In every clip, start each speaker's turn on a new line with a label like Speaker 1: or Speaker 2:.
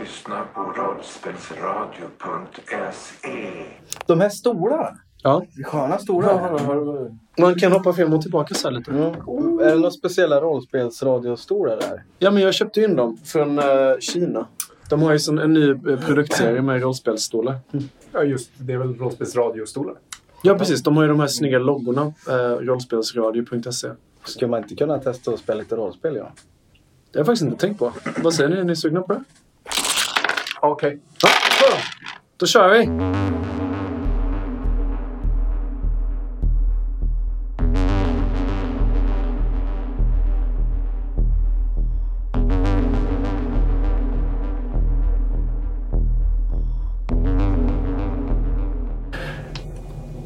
Speaker 1: lyssnar på rollspelsradio.se.
Speaker 2: De här stolarna.
Speaker 3: Ja.
Speaker 2: Sköna stolar.
Speaker 3: Man kan hoppa fram och tillbaka så här lite.
Speaker 2: Mm. Är det några speciella rollspelsradiostolar där?
Speaker 3: Ja, men jag köpte in dem från eh, Kina. De har ju sån, en ny eh, produktserie med rollspelsstolar.
Speaker 4: Mm. Ja, just det. är väl rollspelsradiostolar.
Speaker 3: Ja, precis. De har ju de här snygga loggorna. Eh, rollspelsradio.se.
Speaker 2: Skulle man inte kunna testa att spela lite rollspel? Ja.
Speaker 3: Det har jag faktiskt inte tänkt på. Vad säger ni? Är ni sugna på det?
Speaker 4: Okej.
Speaker 3: Ja, bra. Då kör vi!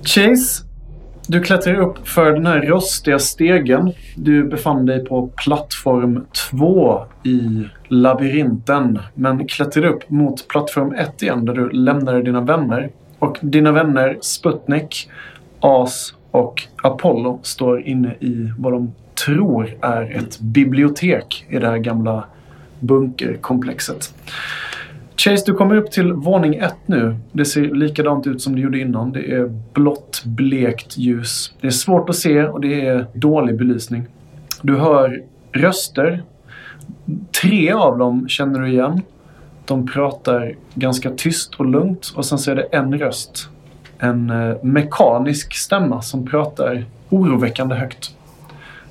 Speaker 3: Chase, du klättrar upp för den här rostiga stegen. Du befann dig på plattform 2 i labyrinten. Men klättrade upp mot plattform 1 igen där du lämnade dina vänner. Och dina vänner Sputnik, As och Apollo står inne i vad de tror är ett bibliotek i det här gamla bunkerkomplexet. Chase, du kommer upp till våning ett nu. Det ser likadant ut som det gjorde innan. Det är blått, blekt ljus. Det är svårt att se och det är dålig belysning. Du hör röster. Tre av dem känner du igen. De pratar ganska tyst och lugnt och sen så är det en röst. En eh, mekanisk stämma som pratar oroväckande högt.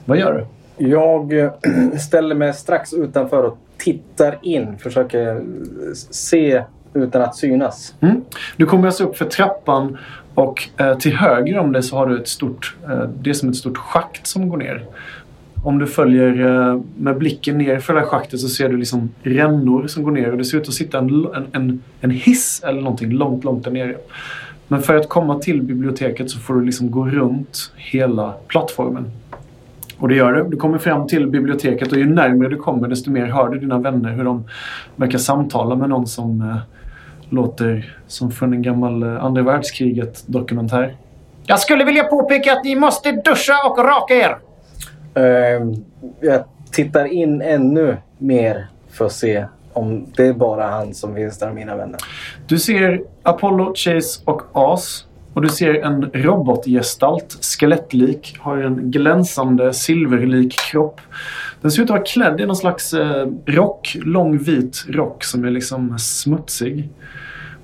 Speaker 3: Vad gör du?
Speaker 2: Jag eh, ställer mig strax utanför och tittar in. Försöker eh, se utan att synas.
Speaker 3: Mm. Du kommer alltså upp för trappan och eh, till höger om dig så har du ett stort, eh, det är som ett stort schakt som går ner. Om du följer eh, med blicken ner för det här schaktet så ser du liksom rännor som går ner och det ser ut att sitta en, l- en, en, en hiss eller någonting långt, långt där nere. Men för att komma till biblioteket så får du liksom gå runt hela plattformen. Och det gör du. Du kommer fram till biblioteket och ju närmare du kommer desto mer hör du dina vänner hur de verkar samtala med någon som eh, låter som från en gammal eh, andra världskriget-dokumentär. Jag skulle vilja påpeka att ni måste duscha och raka er.
Speaker 2: Eh, Jag tittar in ännu mer för att se om det är bara han som finns där, mina vänner.
Speaker 3: Du ser Apollo, Chase och As. Och du ser en robotgestalt, skelettlik, har en glänsande silverlik kropp. Den ser ut att vara klädd i någon slags eh, rock, lång vit rock som är liksom smutsig.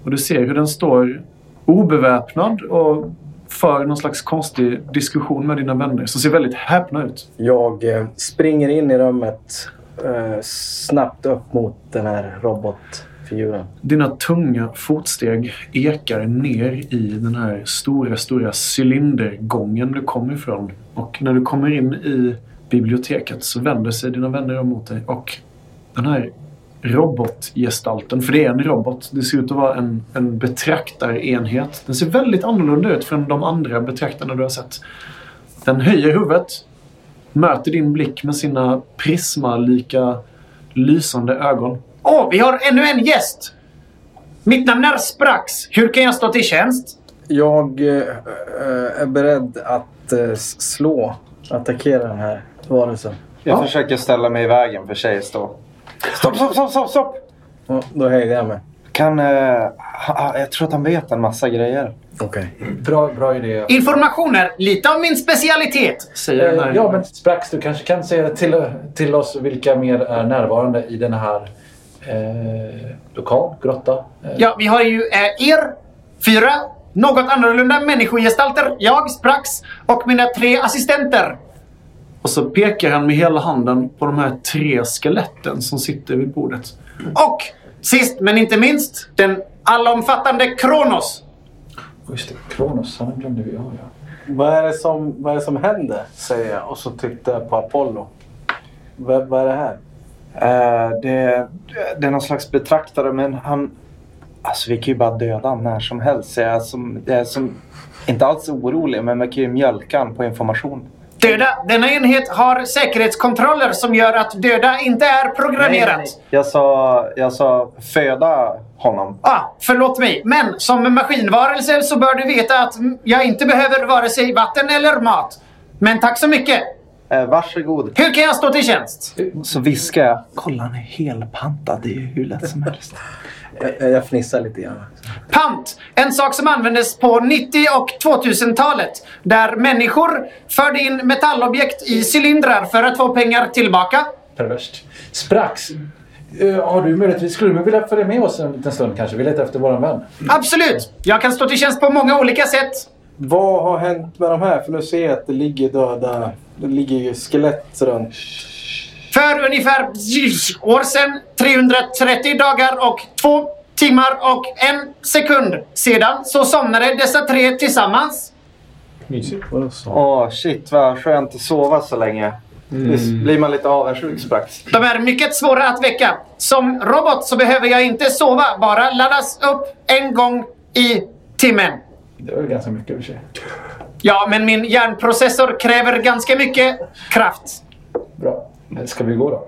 Speaker 3: Och du ser hur den står obeväpnad och för någon slags konstig diskussion med dina vänner som ser väldigt häpna ut.
Speaker 2: Jag eh, springer in i rummet eh, snabbt upp mot den här robotfiguren.
Speaker 3: Dina tunga fotsteg ekar ner i den här stora, stora cylindergången du kommer ifrån. Och när du kommer in i biblioteket så vänder sig dina vänner om mot dig och den här robotgestalten, för det är en robot, det ser ut att vara en, en betraktarenhet. Den ser väldigt annorlunda ut från de andra betraktarna du har sett. Den höjer huvudet, möter din blick med sina prismalika lysande ögon. Åh, vi har ännu en gäst! Mitt namn är Sprax. Hur kan jag stå till tjänst?
Speaker 2: Jag eh, eh, är beredd att eh, s- slå, attackera den här varelsen.
Speaker 5: Jag
Speaker 3: Ja.
Speaker 5: försöker ställa mig i vägen för Chase då. Stopp, stopp, stopp, stopp, stopp!
Speaker 2: Ja, då hejdar jag mig.
Speaker 5: Kan... eh, ha- ha- jag tror att han vet en massa grejer.
Speaker 2: Okej.
Speaker 6: Bra, bra idé.
Speaker 3: Informationer, lite om min specialitet, säger den här.
Speaker 6: Eh, Ja, men Sprax, du kanske kan säga till, till oss vilka mer är närvarande i den här eh, lokal, grotta? Eh,
Speaker 3: Ja, vi har ju eh, er, fyra, något annorlunda människogestalter, jag, Sprax och mina tre assistenter. Och så pekar han med hela handen på de här tre skeletten som sitter vid bordet. Och sist men inte minst, den allomfattande Kronos.
Speaker 6: Just det, Kronos, han glömde vi. Ja, ja.
Speaker 2: Vad, är det som, vad är det som händer? Säger jag och så tittar jag på Apollo. Va, vad är det här?
Speaker 5: Eh, det, det är någon slags betraktare men han... Alltså vi kan ju bara döda honom när som helst. Så jag är, som, jag är som, inte alls orolig men man kan ju mjölka honom på information.
Speaker 3: Döda. Denna enhet har säkerhetskontroller som gör att döda inte är programmerat.
Speaker 5: Jag sa, jag sa föda honom.
Speaker 3: Ah, förlåt mig, men som maskinvarelse så bör du veta att mm, jag inte behöver vare sig vatten eller mat. Men tack så mycket.
Speaker 5: Eh, varsågod.
Speaker 3: Hur kan jag stå till tjänst?
Speaker 5: Så viskar jag. Kolla han är helpantad. Det är ju hur lätt som helst.
Speaker 2: Jag, jag fnissar lite grann.
Speaker 1: Pant, en sak som användes på 90 och 2000-talet. Där människor förde in metallobjekt i cylindrar för att få pengar tillbaka.
Speaker 6: Perverst. Sprax. eh, Har du möjligtvis, skulle du vilja följa med oss en liten stund kanske? Vi letar efter våran vän.
Speaker 1: Absolut, jag kan stå till tjänst på många olika sätt.
Speaker 2: Vad har hänt med de här? För nu ser jag att det ligger döda... Det ligger ju skelett runt.
Speaker 1: För ungefär år sedan, 330 dagar och två timmar och en sekund sedan så somnade dessa tre tillsammans.
Speaker 4: Mysigt.
Speaker 2: Vadå så?
Speaker 5: Åh, shit vad skönt att sova så länge. Visst blir man lite avundsjuk strax.
Speaker 1: De är mycket svåra att väcka. Som robot så behöver jag inte sova, bara laddas upp en gång i timmen.
Speaker 6: Det var ju ganska mycket i och för sig.
Speaker 1: Ja, men min hjärnprocessor kräver ganska mycket kraft.
Speaker 6: Bra. Eh, Ska vi gå då?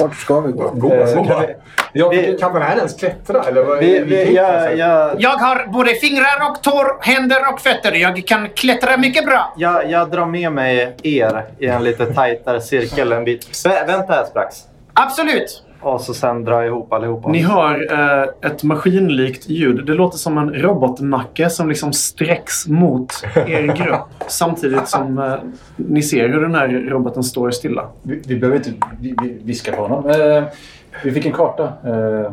Speaker 2: Vart ska vi gå?
Speaker 4: Goa,
Speaker 5: Eh,
Speaker 4: goa.
Speaker 5: kan
Speaker 4: Ja,
Speaker 5: vi-
Speaker 4: kan den här ens klättra? Eller vad,
Speaker 5: Vi,
Speaker 4: vilken
Speaker 5: vi, jag,
Speaker 4: klass är
Speaker 5: jag,
Speaker 1: Jag har både fingrar och tår, händer och fötter. Jag kan klättra mycket bra.
Speaker 5: jag, jag drar med mig er i en lite tajtare cirkel en bit. Vä, vänta här strax.
Speaker 1: Absolut.
Speaker 5: Och så sen drar jag ihop allihopa.
Speaker 3: Ni hör eh, ett maskinlikt ljud. Det låter som en robotnacke som liksom sträcks mot er grupp. samtidigt som eh, ni ser hur den här roboten står stilla.
Speaker 6: Vi, vi behöver inte vi, vi viska på honom. Eh, vi fick en karta. Eh,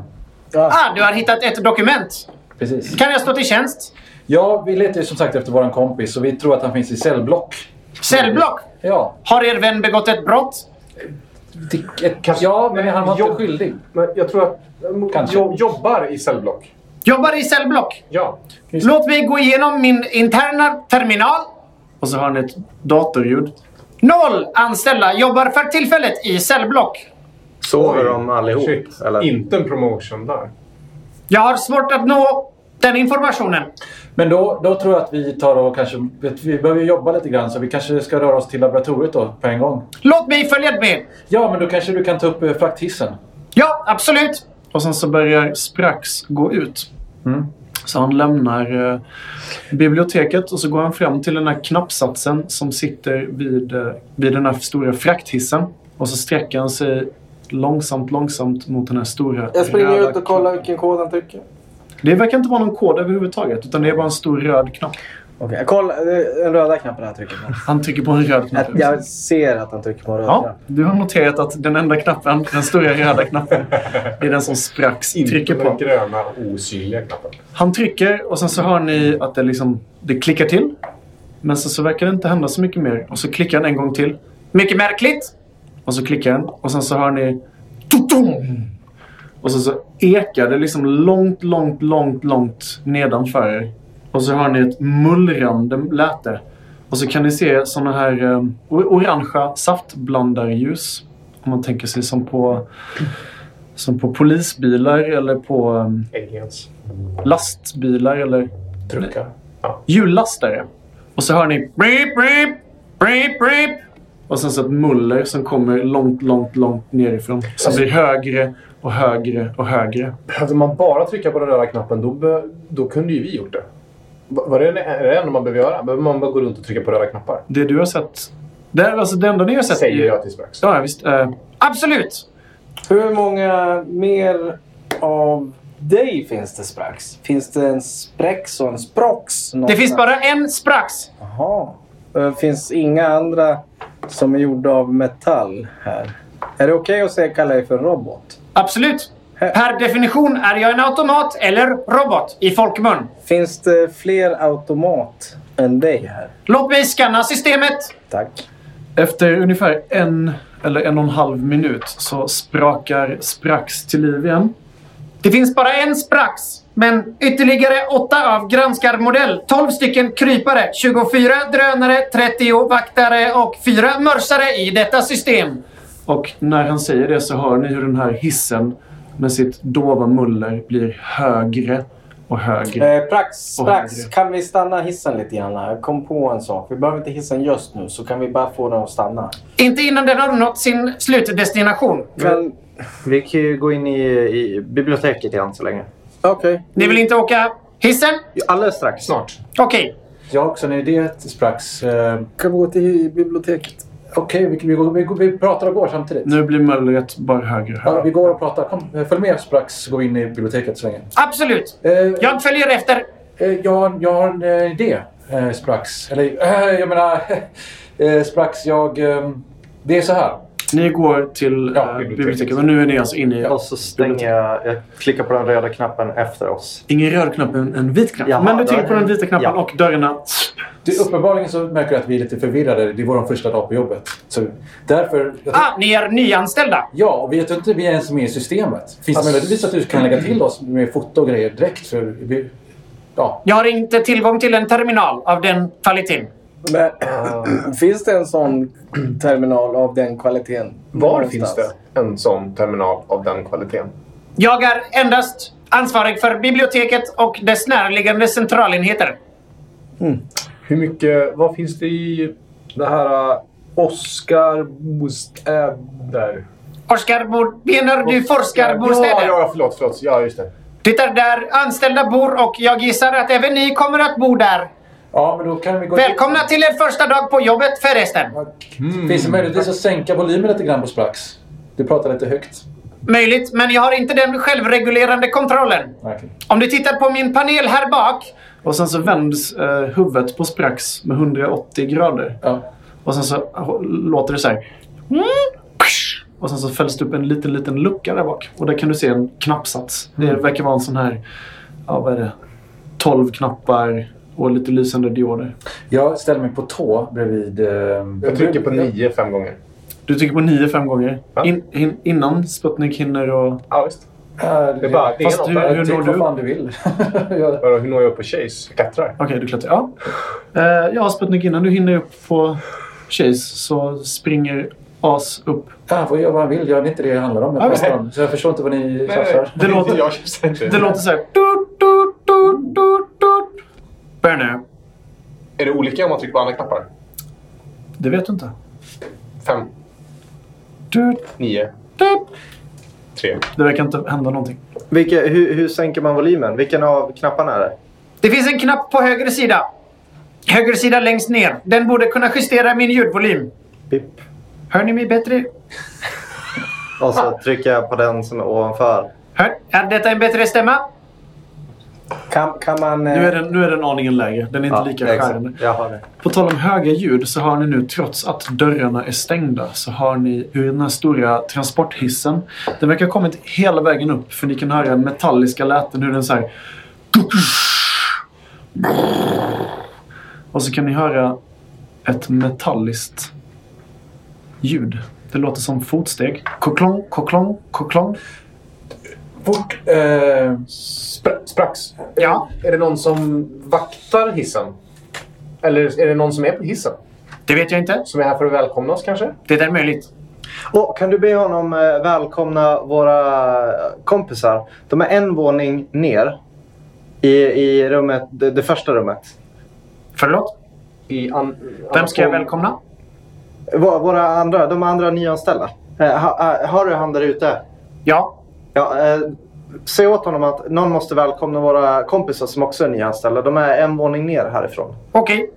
Speaker 1: Ah, du har hittat ett dokument.
Speaker 6: precis.
Speaker 1: Kan jag stå till tjänst?
Speaker 6: Ja, vi letar ju som sagt efter våran kompis och vi tror att han finns i cellblock.
Speaker 1: Cellblock.
Speaker 6: Ja.
Speaker 1: Har er vän begått ett brott?
Speaker 6: Det- ett kast- Ja, men han var
Speaker 4: Jobb-
Speaker 6: inte skyldig.
Speaker 4: Men jag tror att
Speaker 6: Kanske.
Speaker 4: jag jobbar i cellblock.
Speaker 1: Jobbar i cellblock.
Speaker 4: Ja.
Speaker 1: Låt mig gå igenom min interna terminal.
Speaker 3: Och så hör ni ett datorljud.
Speaker 1: Noll anställda jobbar för tillfället i cellblock.
Speaker 5: Sover de allihop?
Speaker 4: Shit.
Speaker 5: Eller?
Speaker 4: Inte en promotion där.
Speaker 1: Jag har svårt att nå den informationen.
Speaker 6: Men då, då tror jag att vi tar och kanske... vet- Vi behöver ju jobba lite grann så vi kanske ska röra oss till laboratoriet då på en gång.
Speaker 1: Låt mig följa med.
Speaker 6: Ja, men då kanske du kan ta upp eh, frakthissen.
Speaker 1: Ja, absolut.
Speaker 3: Och sen så börjar Sprax gå ut. Så han lämnar eh, biblioteket och så går han fram till den här knappsatsen som sitter vid, eh, vid den här stora frakthissen. Och så sträcker han sig långsamt, långsamt mot den här stora
Speaker 2: Jag springer
Speaker 3: röda
Speaker 2: ut och kollar vilken kod han trycker.
Speaker 3: Det verkar inte vara någon kod överhuvudtaget, utan det är bara en stor röd knapp.
Speaker 2: Okej, kolla. det är Den röda knappen han trycker på.
Speaker 3: Han trycker på en röd knapp.
Speaker 2: Att jag ser att han trycker på en röd
Speaker 3: Ja,
Speaker 2: knapp.
Speaker 3: du har noterat att den enda knappen, den stora röda knappen, är den som Sprax trycker
Speaker 4: Inte den
Speaker 3: på.
Speaker 4: gröna osynliga knappen.
Speaker 3: Han trycker och sen så hör ni att det liksom, det klickar till. Men sen så verkar det inte hända så mycket mer. Och så klickar han en gång till.
Speaker 1: Mycket märkligt.
Speaker 3: Och så klickar han. Och sen så hör ni... Tutum! Och sen så ekar det liksom långt, långt, långt, långt nedanför er. Och så hör ni ett mullrande läte. Och så kan ni se såna här eh, or- orangea saftblandarljus. Om man tänker sig som på, som på polisbilar eller på eh,
Speaker 4: Aliens.
Speaker 3: lastbilar eller
Speaker 6: Truckar.
Speaker 3: hjullastare. Och så hör ni beep, beep, beep, beep. Och sen så ett muller som kommer långt, långt, långt nerifrån. Som blir högre och högre och högre.
Speaker 4: Behövde man bara trycka på den röda knappen då, be- då kunde ju vi gjort det. Va- Var det är det enda man behöver göra? Behöver man bara gå runt och trycka på röda knappar?
Speaker 3: Det du har sett... Det, alltså det enda ni har sett... är-
Speaker 4: Säger jag till Sprax.
Speaker 3: Ja, visst. Eh,
Speaker 1: Absolut.
Speaker 2: Hur många mer av dig finns det sprax? Finns det en spräx och en sprox?
Speaker 1: Det
Speaker 2: någonstans?
Speaker 1: finns bara en sprax.
Speaker 2: Jaha. Det finns inga andra som är gjorda av metall här. Är det okej att säga kalla dig för robot?
Speaker 1: Absolut. Per definition är jag en automat eller robot i folkmun.
Speaker 2: Finns det fler automat än dig här?
Speaker 1: Låt mig scanna systemet.
Speaker 2: Tack.
Speaker 3: Efter ungefär en eller en och en halv minut så sprakar Sprax till liv igen.
Speaker 1: Det finns bara en sprax. Men ytterligare åtta av granskarmodell, 12 stycken krypare, 24 drönare, 30 vaktare och fyra mörsare i detta system.
Speaker 3: Och när han säger det så hör ni hur den här hissen med sitt dova muller blir högre och högre.
Speaker 2: Eh, prax,
Speaker 3: Och
Speaker 2: prax.
Speaker 3: högre.
Speaker 2: Kan vi stanna hissen lite grann? här? Jag kom på en sak. Vi behöver inte hissen just nu, så kan vi bara få den att stanna.
Speaker 1: Inte innan den har nått sin slutdestination.
Speaker 2: Men,
Speaker 5: Vi kan ju gå in i, i biblioteket igen så länge.
Speaker 2: okej.
Speaker 1: Ni vill inte åka hissen?
Speaker 5: Alldeles strax.
Speaker 4: Snart.
Speaker 1: Okej.
Speaker 6: Jag har också en idé till Sprax. Eh,
Speaker 2: Kan vi gå till biblioteket?
Speaker 6: Okej, vi, vi, går- vi, går- vi pratar och går samtidigt.
Speaker 3: Nu blir mullret bara högre
Speaker 6: Ja,
Speaker 3: här.
Speaker 6: vi går och pratar. Kom, eh, följ med Sprax. Gå in i biblioteket så länge.
Speaker 1: Absolut.
Speaker 6: Eh,
Speaker 1: Jag följer efter.
Speaker 6: eh, jag, har- jag har en eh, idé, eh, Sprax. Eller, eh, jag menar... Eh, Sprax, jag... Eh, det är så här.
Speaker 3: Ni går till
Speaker 6: Ja,
Speaker 3: eh,
Speaker 6: biblioteket.
Speaker 3: biblioteket, men nu är ni alltså inne i...
Speaker 5: Och så stänger jag, jag klickar på den röda knappen efter oss.
Speaker 3: Ingen röd knapp, en, en vit knapp.
Speaker 5: Jaha,
Speaker 3: men du
Speaker 5: då
Speaker 3: trycker
Speaker 5: är
Speaker 3: på den
Speaker 5: det-
Speaker 3: vita knappen
Speaker 5: ja.
Speaker 3: och dörrarna...
Speaker 6: Du, uppenbarligen så märker du att vi är lite förvirrade. Det är vår första dag på jobbet. Så därför... Jag tror,
Speaker 1: Ah, ni är nyanställda.
Speaker 6: Ja, och vi jag tror inte vi är ens med i systemet. Finns det möjligtvis att du kan lägga till oss med foto och grejer direkt? För vi, ja,
Speaker 1: Jag har inte tillgång till en terminal av den kvaliteten.
Speaker 2: Men, finns det en sån terminal av den kvaliteten?
Speaker 4: Var
Speaker 2: någonstans?
Speaker 4: finns det en sån terminal av den kvaliteten?
Speaker 1: Jag är endast ansvarig för biblioteket och dess närliggande centralenheter.
Speaker 4: Hur mycket... Vad finns det i det här eh, Oscar Bostäder?
Speaker 1: Forskar, bor, menar du forskarbostäder?
Speaker 4: Ja, ja, ja, förlåt, förlåt. Ja, just det.
Speaker 1: Det är där anställda bor och jag gissar att även ni kommer att bo där.
Speaker 6: ja, men då kan vi gå...
Speaker 1: Välkomna till er första dag på jobbet förresten.
Speaker 3: Mm.
Speaker 6: Finns det möjligtvis att sänka volymen lite grann på Sprax? Du pratar lite högt.
Speaker 1: Möjligt, men jag har inte den självregulerande kontrollen.
Speaker 6: Verkligen.
Speaker 1: Om du tittar på min panel här bak.
Speaker 3: Och sen så vänds eh, huvudet på Sprax med 180 grader.
Speaker 6: Ja.
Speaker 3: Och sen så h- låter det så här.
Speaker 1: Mm.
Speaker 3: Och sen så fälls det upp en liten, liten lucka där bak. Och där kan du se en knappsats.
Speaker 1: Mm.
Speaker 3: Det verkar vara en sån här, ja vad är det? 12 knappar och lite lysande dioder.
Speaker 6: Jag ställer mig på tå bredvid... Eh,
Speaker 4: Jag trycker på nio fem gånger.
Speaker 3: Du trycker på 9 fem gånger.
Speaker 4: Ja.
Speaker 3: In, hin- innan Sputnik hinner och...
Speaker 4: Ja, visst.
Speaker 6: Ja,
Speaker 4: Det är bara... Det är
Speaker 3: Fast
Speaker 4: något
Speaker 3: du-
Speaker 4: där.
Speaker 3: hur
Speaker 6: Tyck
Speaker 3: når
Speaker 6: typ vad
Speaker 3: du?
Speaker 6: fan du vill. Jag-
Speaker 4: Vadå, Hur når jag upp på Chase? Jag klättrar.
Speaker 3: Okej, du klättrar. Ja. Eh, ja, Sputnik, innan du hinner upp på Chase så springer As upp.
Speaker 6: Han får göra vad han vill. Gör inte det det handlar om. Jag
Speaker 3: Ja,
Speaker 6: pratar
Speaker 3: men-
Speaker 6: om. Så jag förstår inte vad ni tjafsar.
Speaker 3: Det låter-
Speaker 4: Jag tjafsar inte.
Speaker 3: Det låter så här. Tut, tut, tut, tut, tut. Börja nu.
Speaker 4: Är det olika om man trycker på andra knappar?
Speaker 3: Det vet du inte.
Speaker 4: Fem,
Speaker 3: Tut,
Speaker 4: nio,
Speaker 3: tut.
Speaker 4: tre.
Speaker 3: Det verkar inte hända någonting.
Speaker 5: Vilka, hur, hur sänker man volymen? Vilken av knapparna är det?
Speaker 1: Det finns en knapp på höger sida. Höger sida längst ner. Den borde kunna justera min ljudvolym.
Speaker 5: Pip.
Speaker 1: Hör ni mig bättre?
Speaker 5: Och så trycker jag på den som är ovanför.
Speaker 1: Hör, är detta en bättre stämma?
Speaker 2: Kan, kan man... eh,
Speaker 3: Nu är den, nu är den aningen lägre. Den är inte lika
Speaker 5: exakt.
Speaker 3: skärande.
Speaker 5: Jag har det.
Speaker 3: På tal om höga ljud så har ni nu, trots att dörrarna är stängda, så har ni hur den här stora transporthissen, den verkar ha kommit hela vägen upp. För ni kan höra metalliska läten, hur den så här... Och så kan ni höra ett metalliskt ljud. Det låter som fotsteg. Koklong, koklong, koklong.
Speaker 4: Fort. Eh, spra- sprax.
Speaker 1: Ja.
Speaker 4: Är det någon som vaktar hissen? Eller är det någon som är på hissen?
Speaker 1: Det vet jag inte.
Speaker 4: Som är här för att välkomna oss kanske?
Speaker 1: Det är möjligt.
Speaker 5: Och kan du be honom eh, välkomna våra kompisar? De är en våning ner i, i rummet, det, det första rummet.
Speaker 1: Förlåt?
Speaker 4: I an-
Speaker 1: Vem ska jag välkomna?
Speaker 5: Vå- Våra andra, de andra nyanställda. Eh, ha, eh, har du han där ute?
Speaker 1: Ja.
Speaker 5: Ja, eh, säg åt honom att någon måste välkomna våra kompisar som också är nyanställda. De är en våning ner härifrån.
Speaker 1: Okej.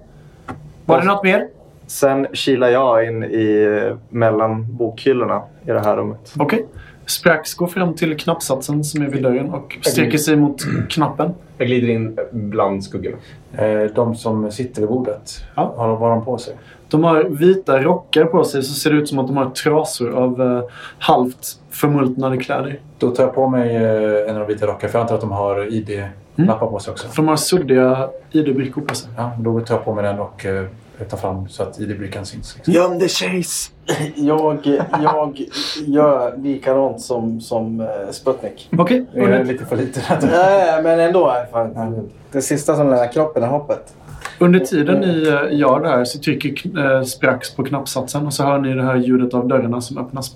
Speaker 1: Var det något mer?
Speaker 5: Sen kilar jag in i eh, mellan bokhyllorna i det här rummet.
Speaker 3: Okej. Sprax går fram till knappsatsen som är vid dörren och sträcker sig mot knappen.
Speaker 4: Jag glider in bland skuggorna.
Speaker 6: Eh, De som sitter vid bordet,
Speaker 3: Ja.
Speaker 6: har, vad har de på sig?
Speaker 3: De har vita rockar på sig så ser det ut som att de har trasor av eh, halvt förmultnade kläder.
Speaker 6: Då tar jag på mig eh, en av de vita rockarna, för jag antar att de har ID-lappar på sig också.
Speaker 3: För de har suddiga ID-brickor på sig.
Speaker 6: Ja, då tar jag på mig den och eh, tar fram så att ID-brickan syns. Liksom.
Speaker 2: Göm dig Chase!
Speaker 5: Jag, jag gör likadant som, som
Speaker 2: eh,
Speaker 5: Sputnik.
Speaker 3: Okej,
Speaker 6: Är det
Speaker 3: under,
Speaker 6: lite för liten?
Speaker 2: Nej, men ändå. Fan. Det sista som lämnar kroppen är hoppet.
Speaker 3: under tiden ni eh, gör det här så trycker kn- eh, Sprax på knappsatsen och så hör ni det här ljudet av dörrarna som öppnas.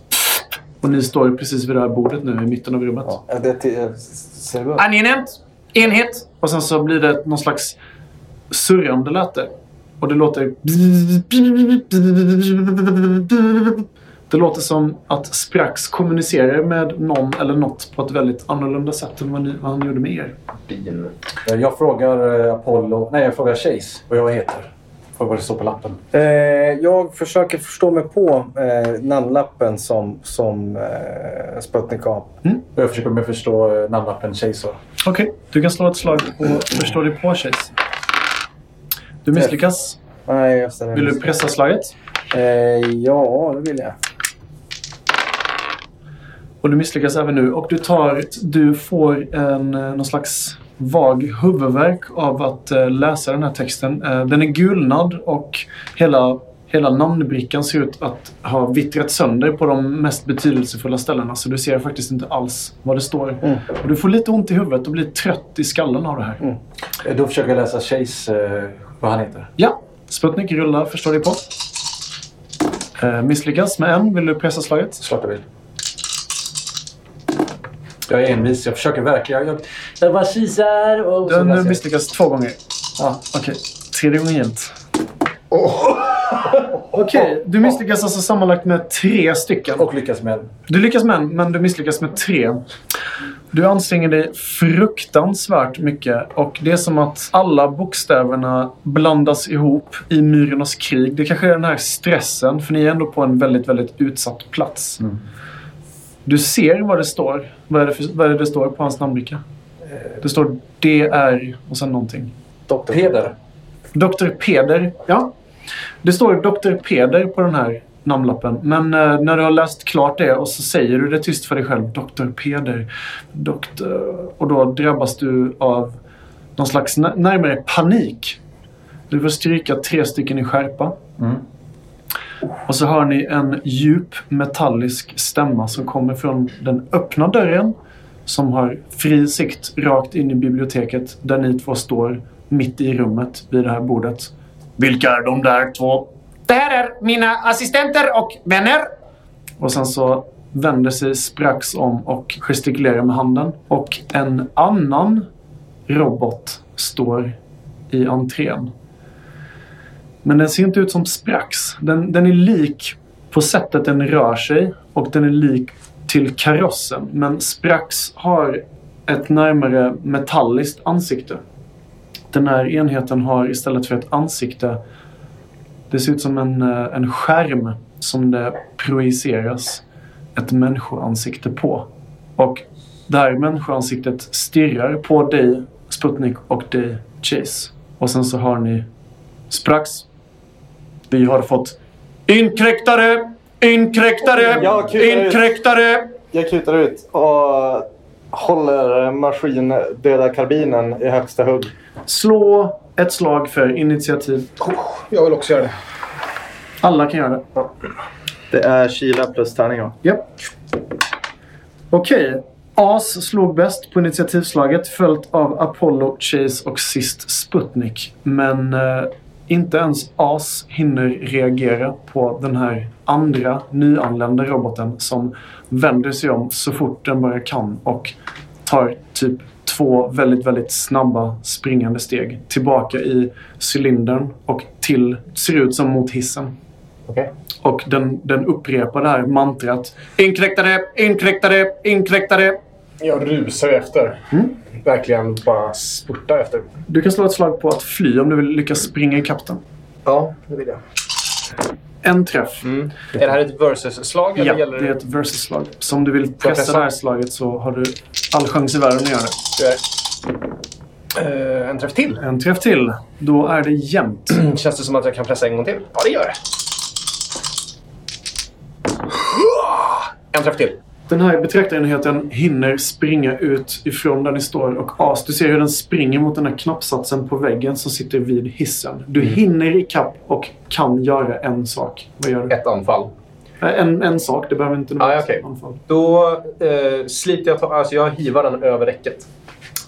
Speaker 3: Och ni står precis vid det här bordet nu i mitten av rummet.
Speaker 2: Ja, Det är till- eh, ser du
Speaker 1: Angenämt. Enhet.
Speaker 3: Och sen så blir det någon slags surrande läte. Och det låter... Det låter som att Sprax kommunicerar med någon eller något på ett väldigt annorlunda sätt än vad, ni, vad han gjorde med er.
Speaker 6: Jag frågar eh, Apollo, nej jag frågar Chase vad jag heter. Får
Speaker 4: för vad det står på lappen.
Speaker 2: Eh, jag försöker förstå mig på eh, namnlappen som, som eh, Sputnik har.
Speaker 4: Och jag försöker med förstå eh, namnlappen Chaser.
Speaker 3: Okej, du kan slå ett slag på förstå dig på Chase. Du misslyckas.
Speaker 2: Nej, just det.
Speaker 3: Vill du pressa slaget?
Speaker 2: Eh, ja, det vill jag.
Speaker 3: Och du misslyckas även nu. Och du, tar, du får en, eh, någon slags vag huvudvärk av att eh, läsa den här texten. Eh, den är gulnad och hela, hela namnbrickan ser ut att ha vittrat sönder på de mest betydelsefulla ställena. Så du ser faktiskt inte alls vad det står. Och du får lite ont i huvudet och blir trött i skallen av det här.
Speaker 6: Eh, Då försöker jag läsa Chase, eh, vad han heter.
Speaker 3: Ja, Sputnik rullar förstår dig på. Eh, misslyckas med en. Vill du pressa slaget?
Speaker 6: Svarta bil. Jag är envis. Jag försöker verkligen. Jag, jag bara kisar och... så
Speaker 3: Den
Speaker 6: läser jag.
Speaker 3: misslyckas två gånger. Ja, okej. Tredje gången gillt. Okej, du misslyckas alltså sammanlagt med tre stycken.
Speaker 6: Och lyckas med en.
Speaker 3: Du lyckas med en, men du misslyckas med tre. Du anstränger dig fruktansvärt mycket och det är som att alla bokstäverna blandas ihop i myrornas krig. Det kanske är den här stressen, för ni är ändå på en väldigt, väldigt utsatt plats. Du ser vad det står. Vad är det, för, vad är det det står på hans namnbricka? Det står DR och sen någonting.
Speaker 2: Doktor.
Speaker 6: Peder.
Speaker 3: Dr. Peder. Ja. Det står Dr. Peder på den här namnlappen. Men eh, när du har läst klart det och så säger du det tyst för dig själv. Dr. Peder. Doktor. Och då drabbas du av någon slags nä- närmare panik. Du får stryka tre stycken i skärpa. Och så hör ni en djup metallisk stämma som kommer från den öppna dörren som har fri sikt rakt in i biblioteket där ni två står mitt i rummet vid det här bordet. Vilka är de där två?
Speaker 1: Det här är mina assistenter och vänner.
Speaker 3: Och sen så vänder sig Sprax om och gestikulerar med handen. Och en annan robot står i entrén. Men den ser inte ut som Sprax. Den, den är lik på sättet den rör sig och den är lik till karossen. Men Sprax har ett närmare metalliskt ansikte. Den här enheten har istället för ett ansikte det ser ut som en, eh, en skärm som det projiceras ett människoansikte på. Och det här människoansiktet stirrar på dig, Sputnik, och dig, Chase. Och sen så hör ni Sprax. Vi har fått inkräktare, inkräktare,
Speaker 5: Ja, kul.
Speaker 3: inkräktare.
Speaker 5: Jag kutar ut och håller maskindöda karbinen i högsta hugg.
Speaker 3: Slå ett slag för initiativ.
Speaker 4: Jag vill också göra det.
Speaker 3: Alla kan göra det.
Speaker 5: Det är kyla plus tärning va?
Speaker 3: Japp. Okej. As slog bäst på initiativslaget följt av Apollo, Chase och sist Sputnik. Men eh, inte ens As hinner reagera på den här andra nyanlända roboten som vänder sig om så fort den bara kan och tar typ två väldigt, väldigt snabba springande steg tillbaka i cylindern och till, ser ut som mot hissen.
Speaker 4: Okej.
Speaker 3: Och den, den upprepar det här mantrat. Inkräktare, inkräktare, inkräktare.
Speaker 4: Jag rusar ju efter. Mm. Verkligen bara spurtar efter.
Speaker 3: Du kan slå ett slag på att fly om du vill lyckas springa ikapp den.
Speaker 4: Ja, det vill jag.
Speaker 3: En träff.
Speaker 7: Är det här ett versus-slag?
Speaker 3: Ja,
Speaker 7: eller
Speaker 3: det
Speaker 7: Mm, gäller
Speaker 3: är ett versus-slag. Så om du vill pressa
Speaker 7: pressa?
Speaker 3: det här slaget så har du all chans i världen att göra det.
Speaker 7: Eh, en träff till?
Speaker 3: En träff till. Då är det jämnt.
Speaker 7: Känns det som att jag kan pressa en gång till? Ja, det gör det. En träff till.
Speaker 3: Den här betraktarenheten hinner springa ut ifrån där ni står och as, du ser hur den springer mot den här knappsatsen på väggen som sitter vid hissen. Du
Speaker 7: Mm.
Speaker 3: hinner ikapp och kan göra en sak. Vad gör du?
Speaker 7: Ett anfall.
Speaker 3: Äh, En, en sak, det behöver inte
Speaker 7: Ah, okej.
Speaker 3: anfall.
Speaker 7: Då eh, sliter jag, ta- alltså jag hivar den över räcket.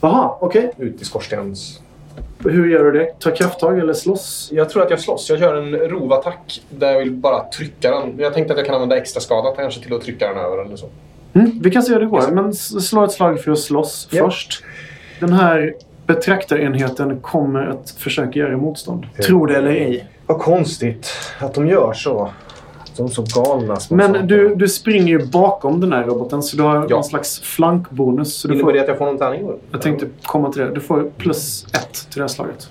Speaker 3: Jaha, okej.
Speaker 7: Ut i skorstenens...
Speaker 3: Hur gör du det? Ta krafttag eller slåss?
Speaker 7: Jag tror att jag slåss. Jag kör en rovattack där jag vill bara trycka den. Jag tänkte att jag kan använda extra skada kanske till att trycka den över eller så.
Speaker 3: Mm, vi kan se hur det går, men s- slå ett slag för att slåss
Speaker 7: Ja.
Speaker 3: först. Den här betraktarenheten kommer att försöka göra motstånd. Tro det eller ej.
Speaker 4: Vad konstigt att de gör så. De är så galna. små saker.
Speaker 3: Men du, du springer ju bakom den här roboten så du har
Speaker 7: Ja.
Speaker 3: någon slags flankbonus. Så du
Speaker 7: Innebär
Speaker 3: får,
Speaker 7: det att jag får någon tärning? då?
Speaker 3: jag tänkte komma till det. Du får plus ett till det här slaget.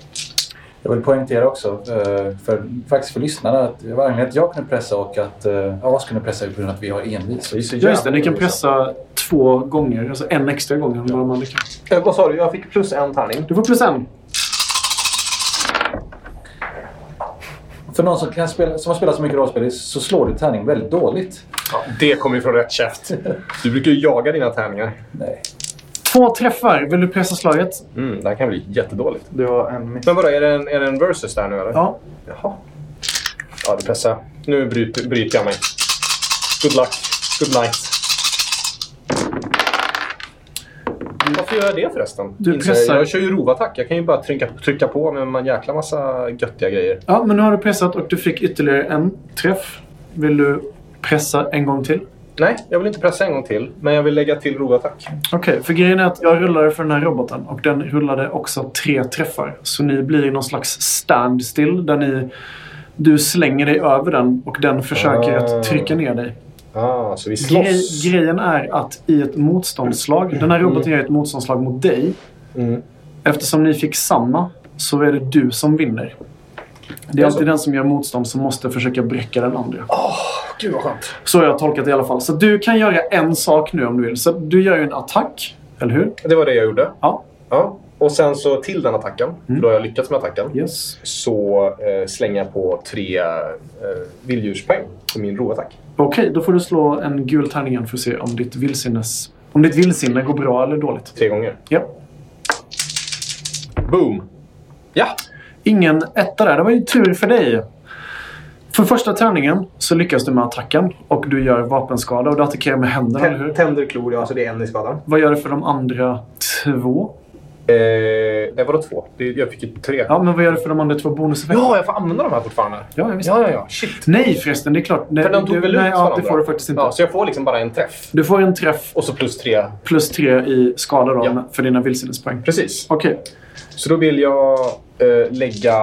Speaker 6: Jag vill poängtera också, eh, för, faktiskt för lyssnarna, att det var anledningen att jag kunde pressa och att eh, As kunde pressa på grund av att vi har envis. Så vi är så
Speaker 7: Ja, just det. Ni
Speaker 6: jävla
Speaker 7: kan
Speaker 6: envisa.
Speaker 7: pressa två gånger. Alltså en extra gång än vad man lyckas.
Speaker 8: Eh, vad sa du? Jag fick plus en tärning.
Speaker 7: Du får plus en.
Speaker 6: För någon som, kan spela, som har spelat så mycket rollspel så slår du tärning väldigt dåligt.
Speaker 4: Det kommer ju från rätt käft. Du brukar ju jaga dina tärningar.
Speaker 6: Nej.
Speaker 7: Två träffar. Vill du pressa slaget?
Speaker 4: Mm, det här kan bli jättedåligt.
Speaker 5: Du har en miss.
Speaker 4: Men vadå, är det en, är det en versus där nu eller?
Speaker 7: Ja.
Speaker 4: Jaha. Ja, du pressar. Nu bryter, bryter jag mig. Good luck. Good night. Varför gör jag det förresten?
Speaker 7: Du
Speaker 4: Inser jag.
Speaker 7: pressar-
Speaker 4: Jag kör ju rovattack. Jag kan ju bara trycka, trycka på med en jäkla massa göttiga grejer.
Speaker 7: Ja, men nu har du pressat och du fick ytterligare en träff. Vill du pressa en gång till?
Speaker 4: Nej, jag vill inte pressa en gång till. Men jag vill lägga till rovattack.
Speaker 7: Okej, för grejen är att jag rullade för den här roboten och den rullade också tre träffar. Så ni blir i någon slags standstill där ni, du slänger dig över den och den försöker
Speaker 4: Ah.
Speaker 7: att trycka ner dig.
Speaker 4: Ah, så vi
Speaker 7: Grej,
Speaker 4: slåss.
Speaker 7: grejen är att i ett motståndslag, den här roboten gör ett motståndslag mot dig.
Speaker 4: Mm.
Speaker 7: Eftersom ni fick samma så är det du som vinner. Det
Speaker 4: Alltså-
Speaker 7: är alltid den som gör motstånd som måste försöka bräcka den andra.
Speaker 4: Gud vad skönt.
Speaker 7: Så har jag tolkat det i alla fall. Så du kan göra en sak nu om du vill. Så du gör ju en attack, eller hur?
Speaker 4: Det var det jag gjorde.
Speaker 7: Ja. Mm.
Speaker 4: ja. Och sen så till den attacken, för då har jag lyckats med attacken,
Speaker 7: Yes.
Speaker 4: så eh, slänger jag på tre eh, vilddjurspoäng på min rovattack.
Speaker 7: Okej, då får du slå en gul tärning igen för att se om ditt vildsinnes... Om ditt vildsinne går bra eller dåligt.
Speaker 4: Tre gånger.
Speaker 7: Ja.
Speaker 4: Boom! Ja!
Speaker 7: Ingen etta där. Det var ju tur för dig. För första tärningen så lyckas du med attacken och du gör vapenskada och du attackerar med händerna, eller hur?
Speaker 8: Tänder, klor, ja. Så det är en i skadan.
Speaker 7: Vad gör du för de andra två?
Speaker 4: Eh, det var då två. Det- Jag fick ju tre.
Speaker 7: Ja, men vad gör du för de andra två bonuseffekterna?
Speaker 4: Ja, jag får använda de här fortfarande.
Speaker 7: Ja, visst.
Speaker 4: Ja, ja, ja. Shit.
Speaker 7: Nej förresten, det är klart. Nej,
Speaker 4: För de tog
Speaker 7: du,
Speaker 4: väl
Speaker 7: nej,
Speaker 4: ut
Speaker 7: ja, det
Speaker 4: varandra?
Speaker 7: får du faktiskt inte.
Speaker 4: Ja, så jag får liksom bara en träff.
Speaker 7: Du får en träff
Speaker 4: Och så plus tre.
Speaker 7: plus tre i skada då,
Speaker 4: Ja.
Speaker 7: för dina vildsinnespoäng.
Speaker 4: Precis.
Speaker 7: Okej,
Speaker 4: Så då vill jag eh, lägga...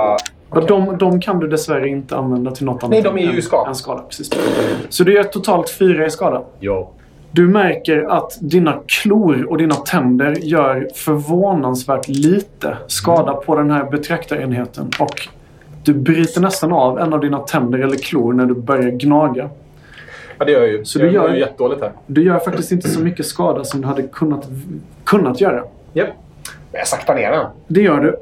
Speaker 7: och de, de kan du dessvärre inte använda till något annat.
Speaker 4: Nej, de är ju
Speaker 7: än-
Speaker 4: i skada.
Speaker 7: än skada. Precis. Så du gör totalt fyra i skada.
Speaker 4: Ja.
Speaker 7: Du märker att dina klor och dina tänder gör förvånansvärt lite skada på den här betraktarenheten. Och du bryter nästan av en av dina tänder eller klor när du börjar gnaga.
Speaker 4: Ja, det gör jag ju.
Speaker 7: Så
Speaker 4: jag
Speaker 7: du gör-
Speaker 4: mår ju jättedåligt här.
Speaker 7: Du gör faktiskt inte så mycket skada som du hade kunnat, kunnat göra.
Speaker 4: Japp. Men jag saktar ner den.
Speaker 7: Det gör du.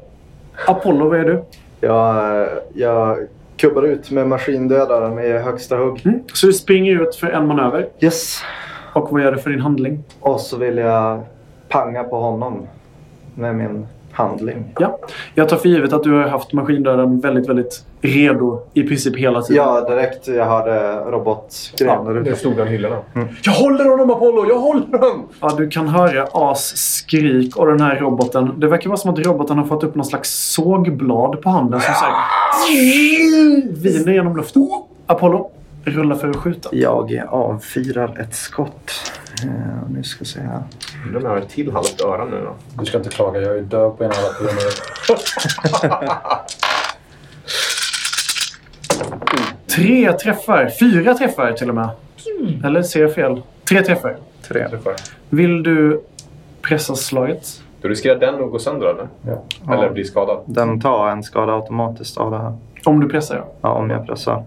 Speaker 7: Apollo, vad är du?
Speaker 5: Jag, jag kubbar ut med maskindödaren med högsta hugg.
Speaker 7: Mm. Så du springer ut för en manöver.
Speaker 5: Yes.
Speaker 7: Och vad gör du för din handling?
Speaker 5: Och så vill jag panga på honom med min handling.
Speaker 7: Ja. Jag tar för givet att du har haft maskindörren väldigt, väldigt redo i princip hela tiden.
Speaker 5: Ja, direkt jag hörde robotgrejen där
Speaker 4: Nu
Speaker 5: ute.
Speaker 4: stod han i hyllorna. Jag håller honom Apollo! Jag håller honom!
Speaker 7: Ja, du kan höra As skrik och den här roboten. Det verkar vara som att roboten har fått upp någon slags sågblad på handen som säger... Viner genom luften. Apollo, rulla för att skjuta.
Speaker 5: Jag avfyrar ett skott. Eh, nu ska jag se här.
Speaker 4: Undrar om jag har ett till halvt öra nu då.
Speaker 6: Du ska inte klaga, jag är döv på ena halvan på grund av
Speaker 7: Tre träffar. Fyra träffar till och med. Eller ser jag fel? Tre träffar.
Speaker 4: Tre. Träffar.
Speaker 7: Vill du pressa slaget?
Speaker 4: Då riskerar den att gå sönder eller?
Speaker 5: Ja.
Speaker 4: Eller bli skadad.
Speaker 5: Den tar en skada automatiskt av det här.
Speaker 7: Om du pressar, ja.
Speaker 5: Ja, om jag pressar.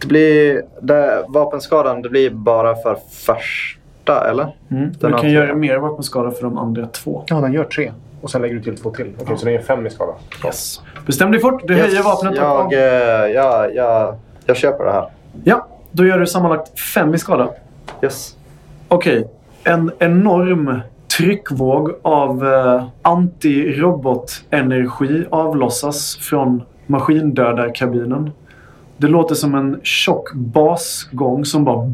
Speaker 5: Det blir... Det, vapenskadan, det blir bara för första, eller?
Speaker 7: Mm.
Speaker 5: Den
Speaker 7: Du
Speaker 5: har
Speaker 7: kan
Speaker 5: tre.
Speaker 7: göra mer vapenskada för de andra två.
Speaker 4: Ja, den gör tre. Och sen lägger du till två till. Okej, så den ger fem i skada.
Speaker 7: Yes. Bestäm dig fort. Du höjer vapnet.
Speaker 5: Jag,
Speaker 7: och-
Speaker 5: eh, jag, jag, jag köper det här.
Speaker 7: Ja, då gör du sammanlagt fem i skada.
Speaker 5: Yes.
Speaker 7: Okej. En enorm tryckvåg av eh, antirobotenergi avlossas från maskindödarkabinen. Det låter som en tjock basgång som bara...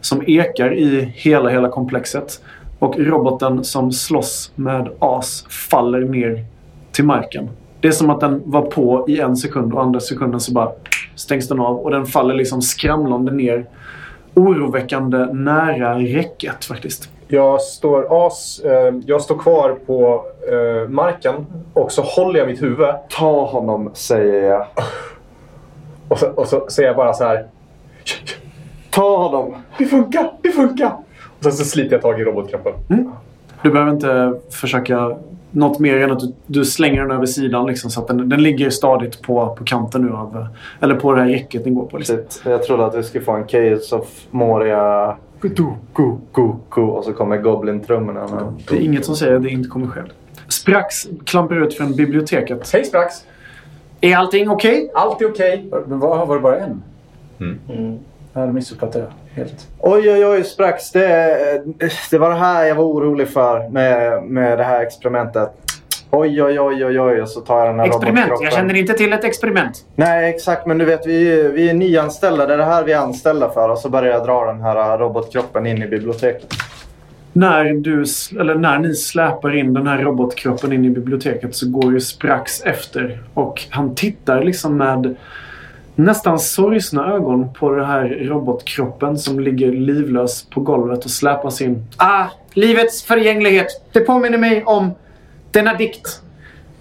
Speaker 7: Som ekar i hela, hela komplexet. Och roboten som slåss med as faller ner till marken. Det är som att den var på i en sekund och andra sekunden så bara stängs den av och den faller liksom skramlande ner oroväckande nära räcket faktiskt.
Speaker 4: Jag står as. Eh, jag står kvar på eh, marken och så håller jag mitt huvud.
Speaker 5: Ta honom, säger jag.
Speaker 4: Och så, och så säger jag bara så här.
Speaker 5: Ta honom!
Speaker 4: Mm. Det funkar! Det funkar! Och sen så sliter jag tag i robotkroppen.
Speaker 7: Du behöver inte försöka något mer än att du, du slänger den över sidan liksom, så att den, den ligger stadigt på, på kanten nu av, eh, eller på det här räcket den går på. Liksom.
Speaker 5: Shit, Typ, Jag trodde att vi skulle få en Chaos of Moria... Kutu-ku-ku-ku. Och så kommer Goblin-trummorna. men-
Speaker 7: Det är inget som säger att det inte kommer ske. Sprax klampar ut från biblioteket.
Speaker 4: Hej Sprax!
Speaker 3: Är allting okej?
Speaker 4: Allt är okej.
Speaker 6: Men var, var det bara en? Ja, det missuppfattade jag helt.
Speaker 5: Oj, oj, oj, sprax. Det, det var det här jag var orolig för med, med det här experimentet. Oj, oj, oj, oj, oj. Och så tar jag den här
Speaker 3: Experiment?
Speaker 5: robotkroppen.
Speaker 3: Jag känner inte till ett experiment.
Speaker 5: Nej, exakt. Men du vet, vi, vi är nyanställda. Det är det här vi är anställda för. Och så börjar jag dra den här robotkroppen in i biblioteket.
Speaker 7: När, du, s- eller när ni släpar in den här robotkroppen in i biblioteket så går ju Sprax efter. Och han tittar liksom med nästan sorgsna ögon på den här robotkroppen som ligger livlös på golvet och släpas in.
Speaker 3: Ah, livets förgänglighet. Det påminner mig om denna dikt.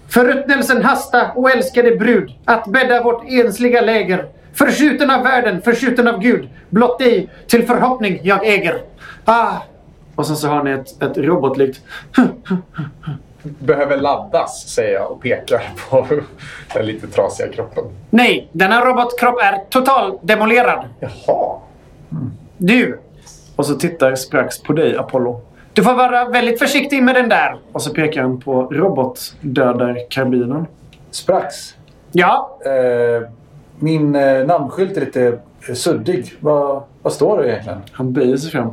Speaker 3: Förruttnelsen hasta, o älskade brud, att bädda vårt ensliga läger. Förskjuten av världen, förskjuten av Gud. Blott dig till förhoppning jag äger. Ah,
Speaker 7: Och sen så hör ni ett, ett robotlikt
Speaker 4: Behöver laddas, säger jag och pekar på den lite trasiga kroppen.
Speaker 3: nej. Denna robotkropp är totaldemolerad.
Speaker 4: Jaha.
Speaker 3: Du,
Speaker 7: och så tittar Sprax på dig, Apollo.
Speaker 3: du får vara väldigt försiktig med den där.
Speaker 7: Och så pekar han på robotdödarkarbinen.
Speaker 6: Sprax.
Speaker 3: Ja,
Speaker 6: Eh, min eh, namnskylt är lite eh, suddig. Vad, vad står det egentligen?
Speaker 7: Han böjer sig fram.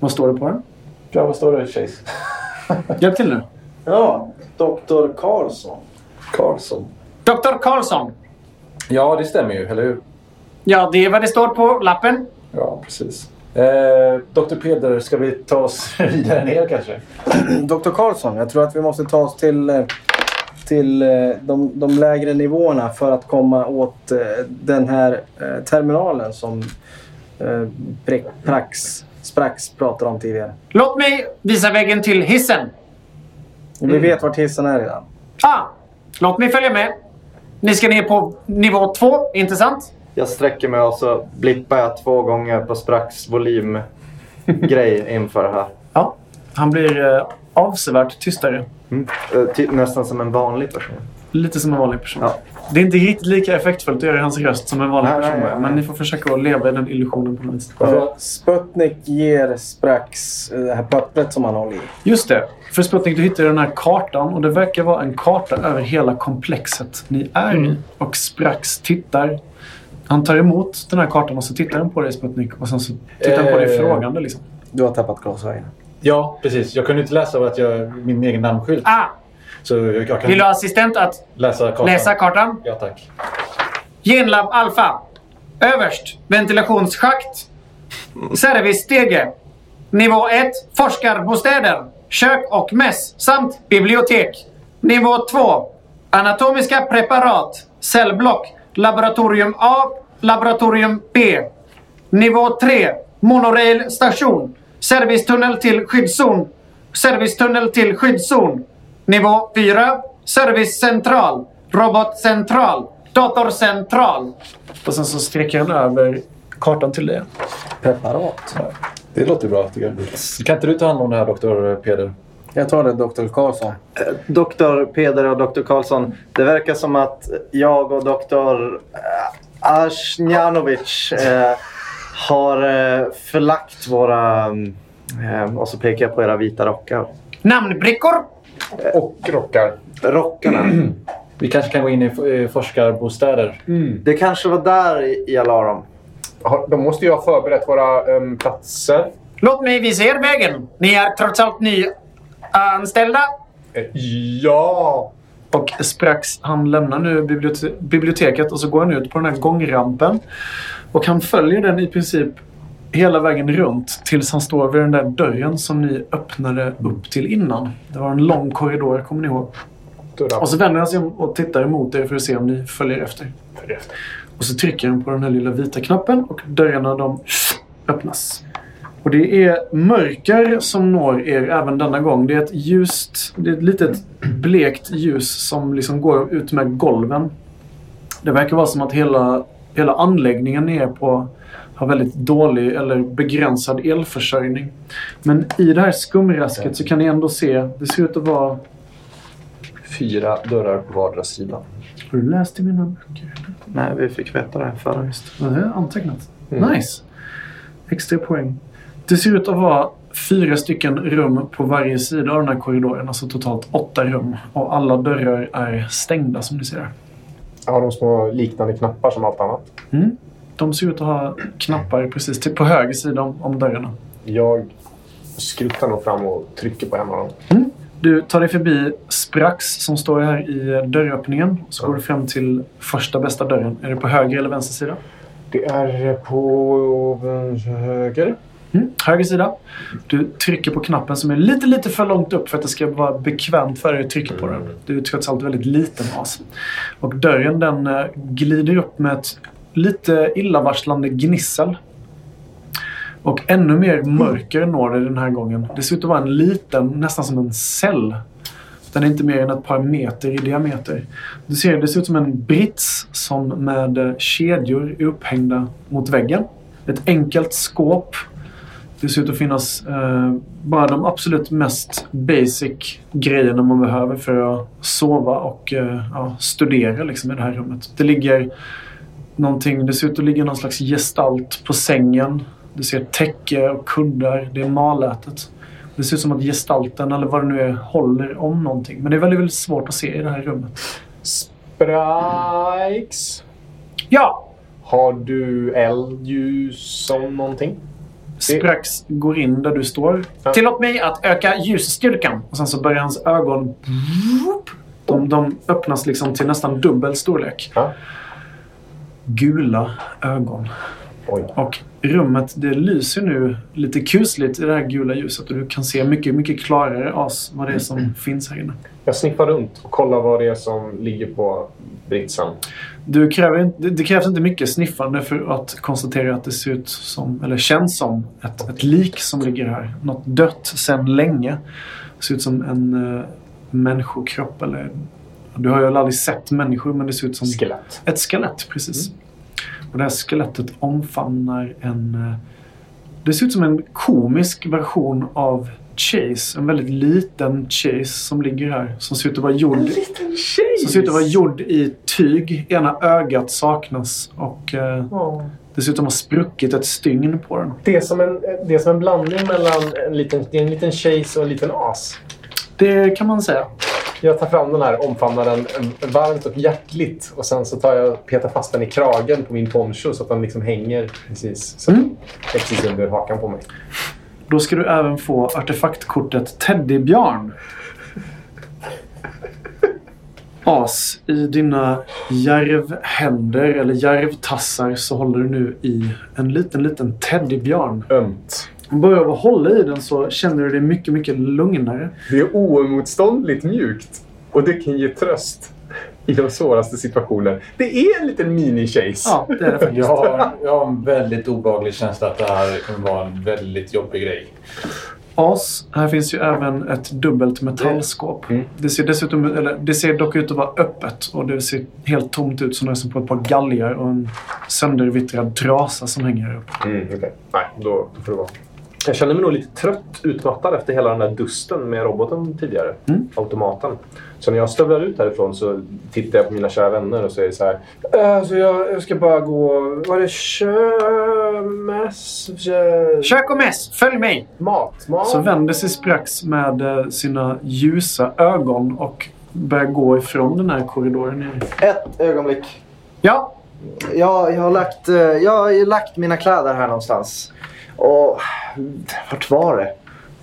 Speaker 7: Vad står det på den?
Speaker 6: Ja, vad står det, Chase?
Speaker 7: Hjälp till nu.
Speaker 9: Ja, Dr. Karlsson.
Speaker 6: Karlsson.
Speaker 3: Dr. Karlsson.
Speaker 6: Ja, det stämmer ju, eller hur?
Speaker 3: Ja, det är vad det står på lappen.
Speaker 6: Ja, precis. Eh, Dr. Peder, ska vi ta oss vidare ner kanske?
Speaker 2: Dr. Karlsson, jag tror att vi måste ta oss till, eh, till eh, de, de lägre nivåerna för att komma åt eh, den här eh, terminalen som eh, Pre- Prax, Sprax pratade om tidigare.
Speaker 3: Låt mig visa vägen till hissen.
Speaker 2: Vi vet vart hissen är redan.
Speaker 3: Ah, låt mig följa med. Ni ska ner på nivå två, inte sant?
Speaker 5: Jag sträcker mig och så blippar jag två gånger på sprax volymgrej inför det här.
Speaker 7: Ja. Han blir eh, avsevärt tystare.
Speaker 5: Eh, Typ nästan som en vanlig person.
Speaker 7: Lite som en vanlig person.
Speaker 5: Ja.
Speaker 7: Det är inte riktigt lika effektfullt att göra hans röst som en vanlig
Speaker 5: Nej,
Speaker 7: person.
Speaker 5: nej, nej.
Speaker 7: Men ni får försöka att leva i den illusionen på något vis.
Speaker 2: Eh, Sputnik ger Sprax eh, det här pappret som han håller i.
Speaker 7: Just det. För Sputnik, du hittar den här kartan och det verkar vara en karta över hela komplexet ni är i.
Speaker 3: Mm.
Speaker 7: Och Sprax tittar. Han tar emot den här kartan och så tittar han på dig Sputnik och sen så tittar han på dig
Speaker 6: Eh.
Speaker 7: frågande liksom.
Speaker 2: Du har tappat glasögonen.
Speaker 6: Ja, precis. Jag kunde inte läsa av att jag, min egen namnskylt.
Speaker 3: Ah,
Speaker 6: Så jag kan
Speaker 3: vill du ha assistent att
Speaker 6: läsa kartan.
Speaker 3: läsa kartan?
Speaker 6: Ja, tack.
Speaker 3: Genlab Alpha. Överst. Ventilationsschakt. Servicestege. Nivå 1. Forskarbostäder. Kök och mäss. Samt bibliotek. Nivå 2. Anatomiska preparat. Cellblock. Laboratorium A. Laboratorium B. Nivå 3. Monorail station. Servicetunnel till skyddszon. Servicetunnel till skyddszon. Nivå 4. Servicecentral. Robotcentral. Datorcentral.
Speaker 7: Och sen så sträcker han över kartan till dig.
Speaker 2: Preparat.
Speaker 4: Det låter bra, tycker jag.
Speaker 6: Kan inte du ta hand om det här, Dr. Peder?
Speaker 2: Jag tar det Dr. Karlsson.
Speaker 5: Doktor Peder och doktor Karlsson, det verkar som att jag och doktor Arsnjanovic eh, har eh, förlagt våra... Eh, och så pekar jag på era vita rockar.
Speaker 3: Namnbrickor.
Speaker 4: Och rockar.
Speaker 5: Rockarna.
Speaker 6: Vi kanske kan gå in i eh, forskarbostäder.
Speaker 5: Det kanske var där jag la dem.
Speaker 4: Har- De måste ju ha förberett våra ehm, platser.
Speaker 3: Låt mig visa er vägen. Ni är trots allt nyanställda.
Speaker 4: Eh, Ja!
Speaker 7: Och Sprax, han lämnar nu bibliote- biblioteket och så går han ut på den här gångrampen. Och han följer den i princip hela vägen runt tills han står vid den där dörren som ni öppnade upp till innan. Det var en lång korridor, kommer ni ihåg?
Speaker 4: Dörrar.
Speaker 7: Och så vänder han sig om och tittar emot er för att se om ni följer efter.
Speaker 4: Följ efter.
Speaker 7: Och så trycker han på den här lilla vita knappen och dörrarna de öppnas. Och det är mörker som når er även denna gång. Det är ett ljust, det är ett litet blekt ljus som liksom går ut med golven. Det verkar vara som att hela, hela anläggningen är på har väldigt dålig eller begränsad elförsörjning. Men i det här skumrasket så kan ni ändå se, det ser ut att vara...
Speaker 10: Fyra dörrar på vardera sida.
Speaker 7: Har du läst i mina böcker?
Speaker 11: Nej, vi fick veta det här förra just. Mm.
Speaker 7: Ja, det är antecknat. Nice! Extra poäng. Det ser ut att vara fyra stycken rum på varje sida av den här korridoren. Alltså totalt åtta rum. Och alla dörrar är stängda som ni ser.
Speaker 4: Har de små liknande knappar som allt annat?
Speaker 7: De ser ut att ha knappar precis till, på höger sida om, om dörrarna.
Speaker 4: Jag skruttar nog fram och trycker på en av dem.
Speaker 7: Du tar dig förbi Sprax som står här i dörröppningen. Så går du fram till första bästa dörren. Är det på höger eller vänster sida?
Speaker 4: Det är på höger.
Speaker 7: Mm, höger sida. Du trycker på knappen som är lite, lite för långt upp för att det ska vara bekvämt för dig att trycka på den. Du är trots allt väldigt liten as. Och dörren den eh, glider upp med ett lite illavarslande gnissel. Och ännu mer mörker når dig den här gången. Det ser ut att vara en liten, nästan som en cell. Den är inte mer än ett par meter i diameter. Du ser, det ser ut som en brits som med eh, kedjor är upphängda mot väggen. Ett enkelt skåp det ser ut att finnas eh, bara de absolut mest basic grejerna man behöver för att sova och eh, ja, studera liksom, i det här rummet. Det ligger någonting, det ser ut att ligga någon slags gestalt på sängen. Du ser täcke och kuddar. Det är malätet. Det ser ut som att gestalten, eller vad det nu är, håller om någonting. Men det är väldigt, väldigt svårt att se i det här rummet.
Speaker 4: Spikes.
Speaker 7: Ja!
Speaker 4: Har du eld, ljus som någonting?
Speaker 7: Sprax går in där du står.
Speaker 4: Ja.
Speaker 3: Tillåt mig att öka ljusstyrkan.
Speaker 7: Och sen så börjar hans ögon... De, de öppnas liksom till nästan dubbel storlek.
Speaker 4: Ja.
Speaker 7: Gula ögon.
Speaker 4: Oj.
Speaker 7: Och rummet det lyser nu lite kusligt i det här gula ljuset. Och du kan se mycket, mycket klarare as vad det är som finns här inne.
Speaker 4: Jag sniffar runt och kollar vad det är som ligger på britsen.
Speaker 7: Du kräver, inte- det- det krävs inte mycket sniffande för att konstatera att det ser ut som, eller känns som, ett, ett lik som ligger här. Något dött sedan länge. Det ser ut som en uh, människokropp. Eller, du har ju aldrig sett människor, men det ser ut som
Speaker 4: Skelett.
Speaker 7: ett skelett. Precis. Och det här skelettet omfamnar en... eh, Det ser ut som en komisk version av Chase. En väldigt liten Chase som ligger här. Som ser ut att vara gjord som ser ut att vara gjord i tyg. Ena ögat saknas och eh, det ser ut att ha spruckit ett stygn på den.
Speaker 4: Det är, som en, det är som en blandning mellan en liten, det är en liten chase och en liten as.
Speaker 7: Det kan man säga.
Speaker 4: Jag tar fram den här, omfamnar den eh, varmt och hjärtligt. Och sen så tar jag, petar fast den i kragen på min poncho så att den liksom hänger precis, så,
Speaker 7: Mm.
Speaker 4: precis under hakan på mig.
Speaker 7: Då ska du även få artefaktkortet Teddybjörn. As, i dina järvhänder eller järvtassar så håller du nu i en liten, liten teddybjörn.
Speaker 4: Ömt.
Speaker 7: Börjar du hålla i den så känner du dig mycket, mycket lugnare.
Speaker 4: Det är oemotståndligt mjukt. Och det kan ge tröst i de svåraste situationer. Det är en liten mini-chase.
Speaker 7: Ja, det är det faktiskt.
Speaker 6: Jag har, jag har en väldigt obehaglig känsla att det här kommer vara en väldigt jobbig grej.
Speaker 7: As, här finns ju även ett dubbelt metallskåp.
Speaker 4: Mm.
Speaker 7: Det, ser dessutom, eller, det ser dock ut att vara öppet och det ser helt tomt ut som det är som på ett par galgar och en söndervittrad trasa som hänger här uppe.
Speaker 4: Mm, okej. Nej, då, då får det vara. Jag känner mig nog lite trött, utmattad efter hela den där dusten med roboten tidigare.
Speaker 7: Mm.
Speaker 4: Automaten. Så när jag stövlar ut härifrån så tittar jag på mina kära vänner och säger så här. "Äh, så jag, jag ska bara gå... Var det kömäss... kö-
Speaker 3: Kök och mäss, följ mig!
Speaker 4: Mat? Mat?
Speaker 7: Så vänder sig Sprax med eh, sina ljusa ögon och börjar gå ifrån den här korridoren. igen.
Speaker 5: Ett ögonblick.
Speaker 3: Ja,
Speaker 5: Jag, jag, har lagt, eh, jag har lagt mina kläder här någonstans. Och vart var det?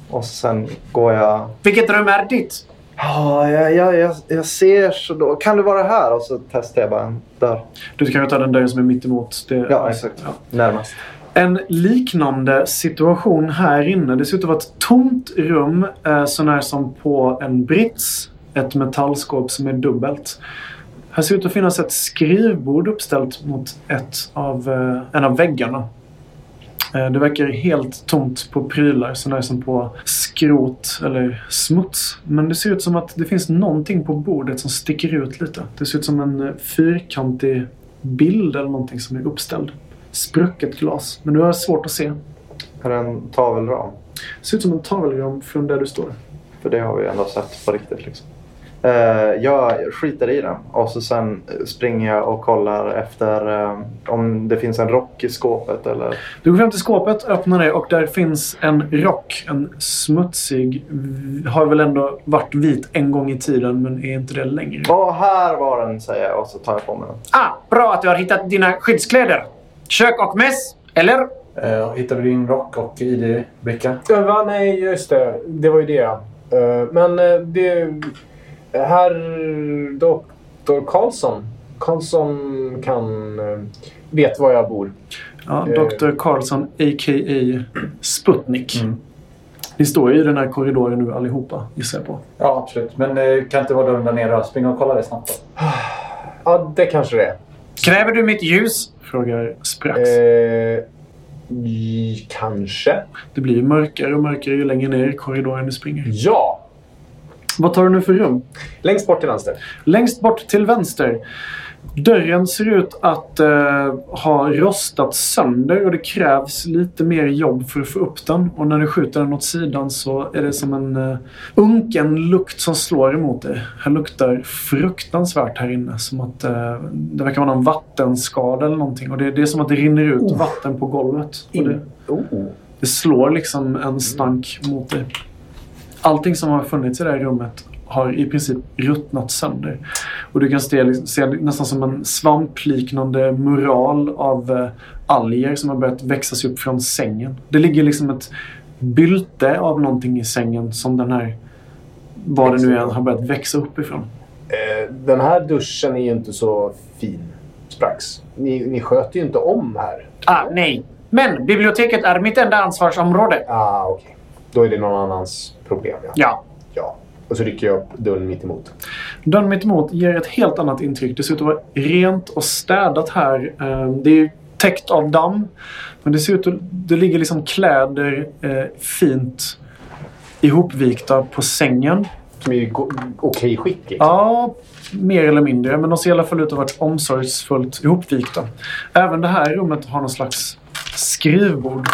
Speaker 11: Och sen går jag...
Speaker 3: vilket rum är ditt?
Speaker 5: Ja, jag, jag, jag, jag ser så då. Kan det vara här? Och så testar jag bara en dörr
Speaker 7: Du kan ju ta den där som är mitt emot. Det,
Speaker 5: Ja, exakt.
Speaker 7: Ja.
Speaker 5: närmast.
Speaker 7: En liknande situation här inne. Det ser ut att vara ett tomt rum eh, sånär som på en brits. Ett metallskåp som är dubbelt. Här ser ut att finnas ett skrivbord uppställt mot ett av, eh, en av väggarna. Eh, det verkar helt tomt på prylar sånär som på skrot eller smuts. Men det ser ut som att det finns någonting på bordet som sticker ut lite. Det ser ut som en eh, fyrkantig bild eller någonting som är uppställd.
Speaker 3: sprucket glas. Men du har svårt att se.
Speaker 5: Är det en tavelram?
Speaker 3: Ser ut som en tavelram från där du står.
Speaker 5: För det har vi ju ändå sett på riktigt. Liksom. Eh, jag skiter i den och så sen springer jag och kollar efter eh, om det finns en rock i skåpet eller...
Speaker 3: Du går fram till skåpet, öppnar det och där finns en rock. En smutsig. v- Har väl ändå varit vit en gång i tiden men är inte det längre.
Speaker 5: Åh, här var den säger jag och så tar jag på mig den.
Speaker 1: Ah, bra att du har hittat dina skyddskläder. Kök och mäss, eller?
Speaker 6: Eh, hittar du din rock och ID-bricka?
Speaker 4: Ja, va, nej, just det. Det var ju det. Eh, Men eh, det... eh, Herr doktor Karlsson. Karlsson kan... eh, Vet var jag bor.
Speaker 3: Ja,
Speaker 4: Eh.
Speaker 3: Dr. Karlsson a.k.a. Sputnik. Ni står ju i den här korridoren nu allihopa gissar jag på.
Speaker 6: Ja, absolut. Men eh, kan inte vara dörren där nere? Spring och kolla det snabbt.
Speaker 4: Ja, det kanske det är.
Speaker 1: Kräver du mitt ljus?
Speaker 3: Frågar Sprax.
Speaker 4: Eh, i- kanske.
Speaker 3: Det blir ju mörkare och mörkare ju längre ner i korridoren du springer.
Speaker 4: Ja.
Speaker 3: Vad tar du nu för rum?
Speaker 4: Längst bort till vänster.
Speaker 3: Längst bort till vänster. Dörren ser ut att eh, ha rostat sönder och det krävs lite mer jobb för att få upp den. Och när du skjuter den åt sidan så är det som en eh, unken lukt som slår emot dig. Det luktar fruktansvärt här inne. Som att eh, det verkar vara någon vattenskada eller någonting. Och det, det är som att det rinner ut vatten på golvet. Och det,
Speaker 4: Oh.
Speaker 3: det slår liksom en stank mot dig. Allting som har funnits i det här rummet har i princip ruttnat sönder. Och du kan se, se nästan som en svampliknande mural av eh, alger som har börjat växa sig upp från sängen. Det ligger liksom ett bylte av någonting i sängen som den här, vad det nu är, har börjat växa upp ifrån.
Speaker 4: Eh, den här duschen är ju inte så fin. Sprax. Ni, ni sköter ju inte om här.
Speaker 1: Ah, nej. Men biblioteket är mitt enda ansvarsområde.
Speaker 4: Ah, okej. Då är det någon annans problem, ja.
Speaker 1: Ja.
Speaker 4: ja. Och så rycker jag upp dörren mitt emot.
Speaker 3: Dörren mittemot ger ett helt annat intryck. Det ser ut att vara rent och städat här. Eh, Det är ju täckt av damm. Men det ser ut att det ligger liksom kläder eh, fint ihopvikta på sängen.
Speaker 4: Som är i go- okej skick. liksom.
Speaker 3: Ja, mer eller mindre. Men de ser i alla fall ut att ha varit omsorgsfullt ihopvikta. Även det här rummet har någon slags skrivbord.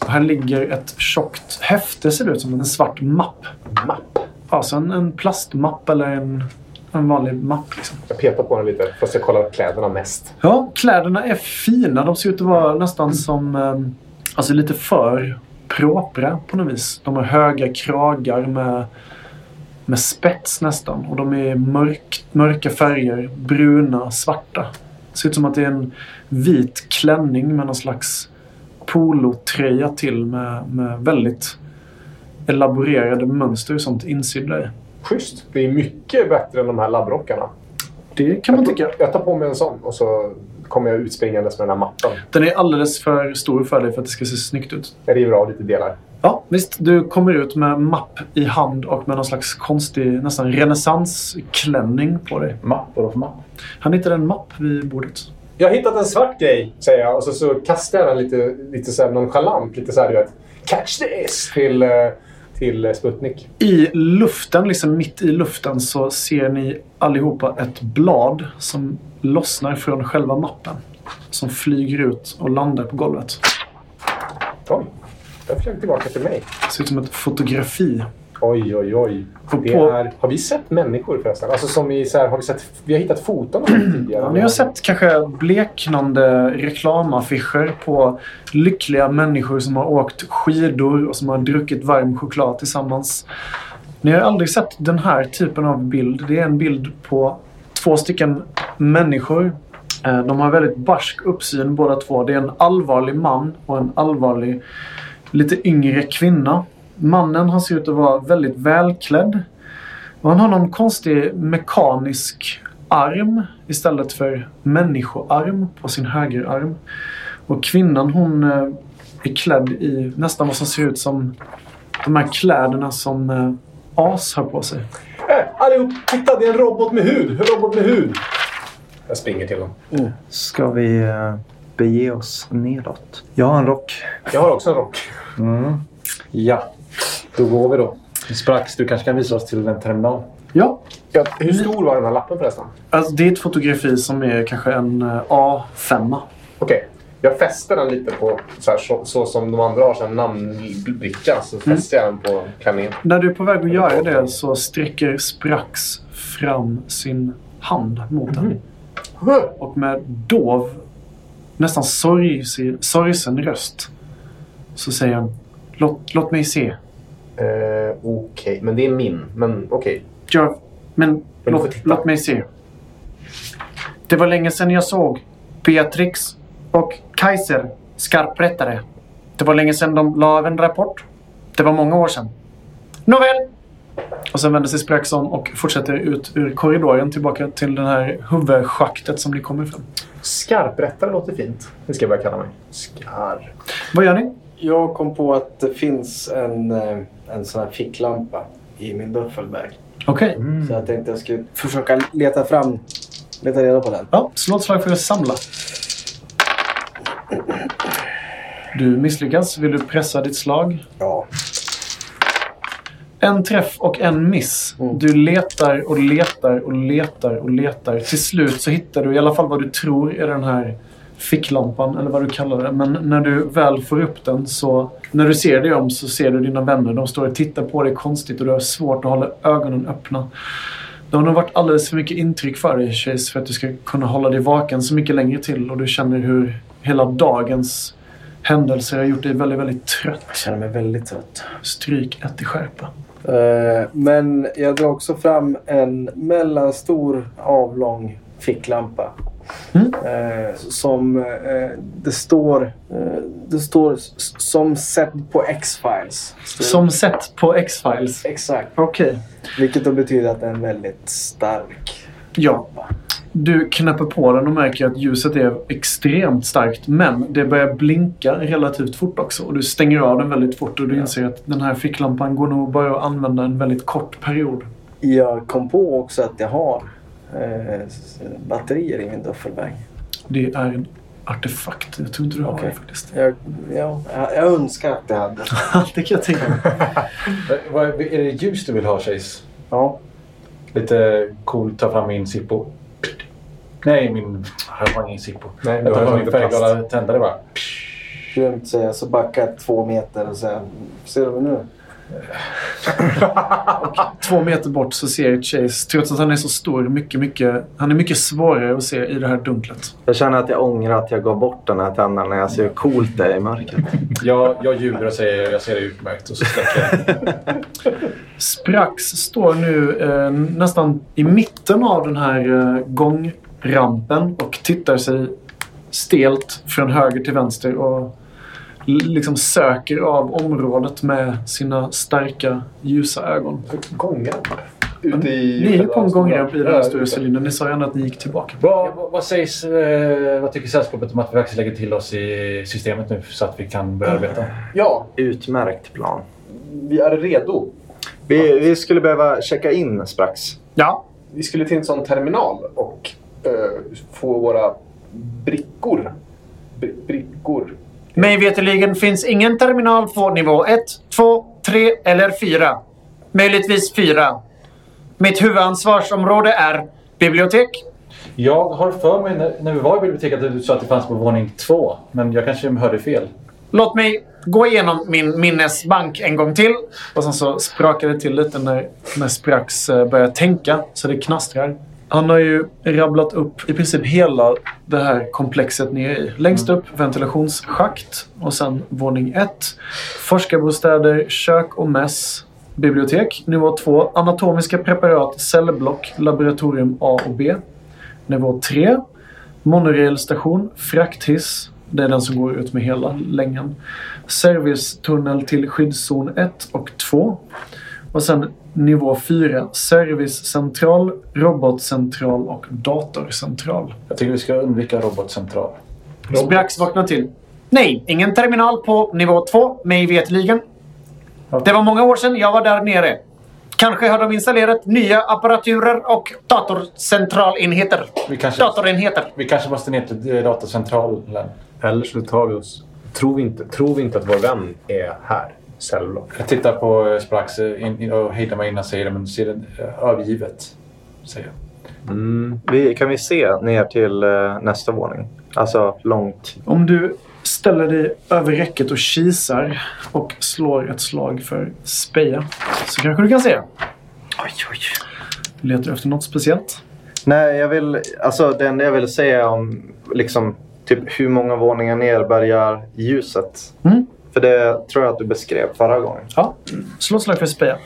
Speaker 3: Och här ligger ett tjockt häfte, ser det ut som. En svart mapp.
Speaker 4: Mapp.
Speaker 3: Alltså en, en plastmapp eller en, en vanlig mapp. Liksom.
Speaker 4: Jag petar på den lite, fast jag kollar kläderna mest.
Speaker 3: Ja, kläderna är fina. De ser ut att vara nästan som... ehm, Alltså lite för propra på något vis. De har höga kragar med, med spets nästan. Och de är mörk, mörka färger. Bruna, svarta. ser ut som att det är en vit klänning med någon slags polotröja till med, med väldigt elaborerade mönster och sånt insydda i.
Speaker 4: Schysst. Det är mycket bättre än de här labbrockarna.
Speaker 3: Det kan man tycka.
Speaker 4: Jag tar på mig en sån och så kommer jag utspringandes med den här mappen.
Speaker 3: Den är alldeles för stor för dig för att det ska se snyggt ut.
Speaker 4: Jag river av lite delar.
Speaker 3: Ja, visst. Du kommer ut med mapp i hand och med någon slags konstig, nästan renässansklänning på dig.
Speaker 6: Mapp? Vadå för mapp?
Speaker 3: Han hittade en mapp vid bordet.
Speaker 4: Jag har hittat en svart grej, säger jag. Och så, så kastar jag den lite, lite så här nonchalant. Lite så här, du vet. Catch this! Till, eh, till eh, Sputnik.
Speaker 3: I luften, liksom mitt i luften, så ser ni allihopa ett blad som lossnar från själva mappen. Som flyger ut och landar på golvet.
Speaker 4: Oj. Den flög tillbaka till mig.
Speaker 3: Det ser ut som ett fotografi.
Speaker 4: Oj, oj, oj.
Speaker 3: Och
Speaker 4: Det
Speaker 3: på-
Speaker 4: är, har vi sett människor förresten? Alltså som i så här, har vi sett... Vi har hittat foton av dem tidigare.
Speaker 3: Ja, ni har sett kanske bleknande reklamaffischer på lyckliga människor som har åkt skidor och som har druckit varm choklad tillsammans. Ni har aldrig sett den här typen av bild. Det är en bild på två stycken människor. Eh, De har väldigt barsk uppsyn båda två. Det är en allvarlig man och en allvarlig lite yngre kvinna. Mannen han ser ut att vara väldigt välklädd. Och han har någon konstig mekanisk arm istället för människoarm på sin högerarm. Och kvinnan hon eh, är klädd i nästan vad som ser ut som de här kläderna som eh, As har på sig.
Speaker 4: Eh, allihop, titta! Det är en robot med hud! En robot med hud! Jag springer till dem.
Speaker 5: Ska vi eh, bege oss nedåt? Jag har en rock.
Speaker 4: Jag har också en rock.
Speaker 6: Ja, då går vi då. Sprax, du kanske kan visa oss till en terminal?
Speaker 3: Ja,
Speaker 4: Ja, hur stor var den här lappen förresten?
Speaker 3: alltså det är ett fotografi som är kanske en eh, A5.
Speaker 4: Okej.
Speaker 7: Jag fäster den lite på, så, här, så, så som de andra har så här namnbricka,
Speaker 4: Mm.
Speaker 7: så fäster jag den på klänningen.
Speaker 3: När du är på väg att göra det så sträcker Sprax fram sin hand mot den. Och med dov, nästan sorgs- sorgsen röst så säger han låt, låt mig se.
Speaker 7: Eh, okej, men det är min. Men okej.
Speaker 3: Jag, men
Speaker 7: du får
Speaker 3: låt,
Speaker 7: titta.
Speaker 3: låt mig se. Det var länge sedan jag såg Beatrix och Kaiser skarprättare. Det var länge sedan de la av en rapport. Det var många år sedan. Nåväl! Och sen vänder sig Sprax om och fortsätter ut ur korridoren tillbaka till det här huvudschaktet som ni kommer ifrån.
Speaker 7: Skarprättare låter fint. Det ska jag börja kalla mig. Skarp.
Speaker 3: Vad gör ni?
Speaker 2: Jag kom på att det finns en, eh, en sån här ficklampa i min duffelbag.
Speaker 3: Okej.
Speaker 2: Så jag tänkte jag skulle försöka leta fram, leta reda på den.
Speaker 3: Ja, slå ett slag för att samla. Du misslyckas. Vill du pressa ditt slag?
Speaker 2: Ja.
Speaker 3: En träff och en miss. Du letar och letar och letar och letar. Till slut så hittar du i alla fall vad du tror är den här ficklampan eller vad du kallar det. Men när du väl får upp den så... När du ser dig om så ser du dina vänner. De står och tittar på dig konstigt och du har svårt att hålla ögonen öppna. Det har nog varit alldeles för mycket intryck för dig, Chase, för att du ska kunna hålla dig vaken så mycket längre till. Och du känner hur hela dagens händelser har gjort dig väldigt, väldigt
Speaker 2: Jag
Speaker 3: trött.
Speaker 2: känner mig väldigt trött.
Speaker 3: Stryk ett i skärpa.
Speaker 2: Eh, Men jag drar också fram en mellanstor avlång ficklampa.
Speaker 3: Mm.
Speaker 2: Eh, Som eh, det står, eh, det står s- som sett på X-Files.
Speaker 3: Som sett på X-Files.
Speaker 2: Exakt.
Speaker 3: Okej.
Speaker 2: Vilket då betyder att den är väldigt stark.
Speaker 3: Ja. Du knappar på den och märker att ljuset är extremt starkt. Men det börjar blinka relativt fort också. Och du stänger av den väldigt fort. Och du inser att den här ficklampan går nog bara att använda en väldigt kort period.
Speaker 2: Jag kom på också att jag har eh, s- batterier i min duffelbag.
Speaker 3: Det är en artefakt. Jag tror inte du har det faktiskt.
Speaker 2: Jag, jag, jag önskar att jag hade.
Speaker 3: det kan jag tänka mig.
Speaker 6: Men Eh, vad- Är det ljus du vill ha, Chase?
Speaker 2: Ja.
Speaker 6: Lite cool, ta fram min Zippo. Nej, min... Jag har ingen Zippo.
Speaker 7: Nej,
Speaker 6: Jag
Speaker 7: du
Speaker 6: tar
Speaker 7: har
Speaker 6: fram min
Speaker 7: inte plast.
Speaker 6: färgglada tändare bara.
Speaker 2: Grymt säger jag, så backar jag två meter och säger Ser du mig nu?
Speaker 3: Två meter bort så ser jag Chase, trots att han är så stor, mycket, mycket, han är mycket svårare att se i det här dunklet.
Speaker 12: Jag känner att jag ångrar att jag gav bort den här tändaren när jag ser hur coolt det är i mörkret.
Speaker 6: Jag, jag ljuger och säger jag ser det utmärkt och så släcker jag.
Speaker 3: Sprax står nu eh, nästan i mitten av den här eh, gångrampen och tittar sig stelt från höger till vänster och l- liksom söker av området med sina starka ljusa ögon.
Speaker 7: Gångar. Ute i...
Speaker 3: Ni är ju på en gångramp i den här
Speaker 7: Ja,
Speaker 3: stora
Speaker 7: ute.
Speaker 3: cylindern. Ni sa ju ändå att ni gick tillbaka.
Speaker 6: Vad, vad, vad sägs, eh, vad tycker sällskapet om att vi faktiskt lägger till oss i systemet nu så att vi kan börja arbeta?
Speaker 7: Ja,
Speaker 12: Utmärkt plan.
Speaker 7: vi är redo.
Speaker 12: Vi, vi skulle behöva checka in strax.
Speaker 3: Ja,
Speaker 7: Vi skulle till en sån terminal och eh, få våra brickor. Bri- brickor.
Speaker 1: Mig veterligen finns ingen terminal på nivå 1, 2, 3 eller 4. Möjligtvis 4. Mitt huvudansvarsområde är bibliotek.
Speaker 6: Jag har för mig när, när vi var i biblioteket att du sa att det fanns på våning två. Men jag kanske hörde fel.
Speaker 1: Låt mig gå igenom min minnesbank en gång till.
Speaker 3: Och sen så sprakade det till lite när, när Sprax eh, började tänka så det knastrar. Han har ju rabblat upp i princip hela det här komplexet ni är i. Längst
Speaker 12: Mm.
Speaker 3: upp ventilationsschakt och sen våning ett. Forskarbostäder, kök och mäss. Bibliotek, nivå 2. Anatomiska preparat, cellblock, laboratorium A och B. Nivå 3. Monorailstation, frakthiss. Det är den som går ut med hela längan. Servicetunnel till skyddszon 1 och 2. Och sen nivå 4. Servicecentral, robotcentral och datorcentral.
Speaker 6: Jag tycker vi ska undvika robotcentral.
Speaker 3: Sprax vaknar till.
Speaker 1: Nej, ingen terminal på nivå 2, mig veterligen. Det var många år sedan jag var där nere. Kanske har de installerat nya apparaturer och datorcentralenheter.
Speaker 6: Vi kanske,
Speaker 1: Datorenheter.
Speaker 6: vi kanske måste ner till eh, datacentralen.
Speaker 4: Eller så tar vi oss... Tror vi inte, tror vi inte att vår vän är här? Cellblock.
Speaker 6: Jag tittar på eh, Sprax eh, in, in, och hejdar mig innan jag säger det, men ser det eh, övergivet. Säger jag.
Speaker 4: Mm.
Speaker 12: Vi, kan vi se ner till eh, nästa våning? Alltså långt.
Speaker 3: Om du ställer dig över räcket och kisar och slår ett slag för speja så kanske du kan se.
Speaker 12: Oj, oj.
Speaker 3: Letar du efter något speciellt?
Speaker 12: Nej, jag vill... Alltså det enda jag ville säga om liksom typ hur många våningar ner börjar ljuset.
Speaker 3: Mm.
Speaker 12: För det tror jag att du beskrev förra gången.
Speaker 3: Ja. Slå ett slag för speja.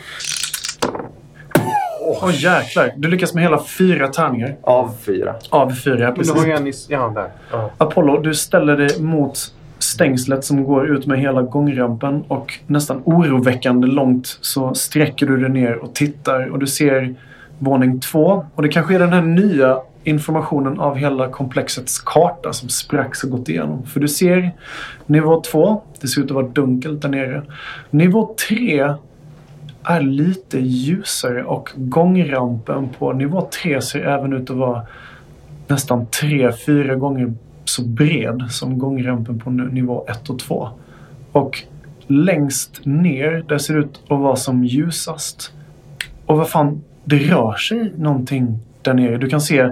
Speaker 3: Åh jäklar. Du lyckas med hela fyra tärningar.
Speaker 12: Av fyra.
Speaker 3: Av fyra, ja, precis.
Speaker 4: jag nyss... Ja, där. Ja.
Speaker 3: Apollo, du ställer dig mot stängslet som går ut med hela gångrampen och nästan oroväckande långt så sträcker du dig ner och tittar och du ser våning två. Och det kanske är den här nya informationen av hela komplexets karta som spracks och gått igenom. För du ser nivå två, det ser ut att vara dunkelt där nere. Nivå tre är lite ljusare och gångrampen på nivå tre ser även ut att vara nästan tre, fyra gånger så bred som gångrampen på nu- nivå 1 och 2. Och längst ner, där ser det ut att vara som ljusast. Och vad fan, det rör sig någonting där nere. Du kan se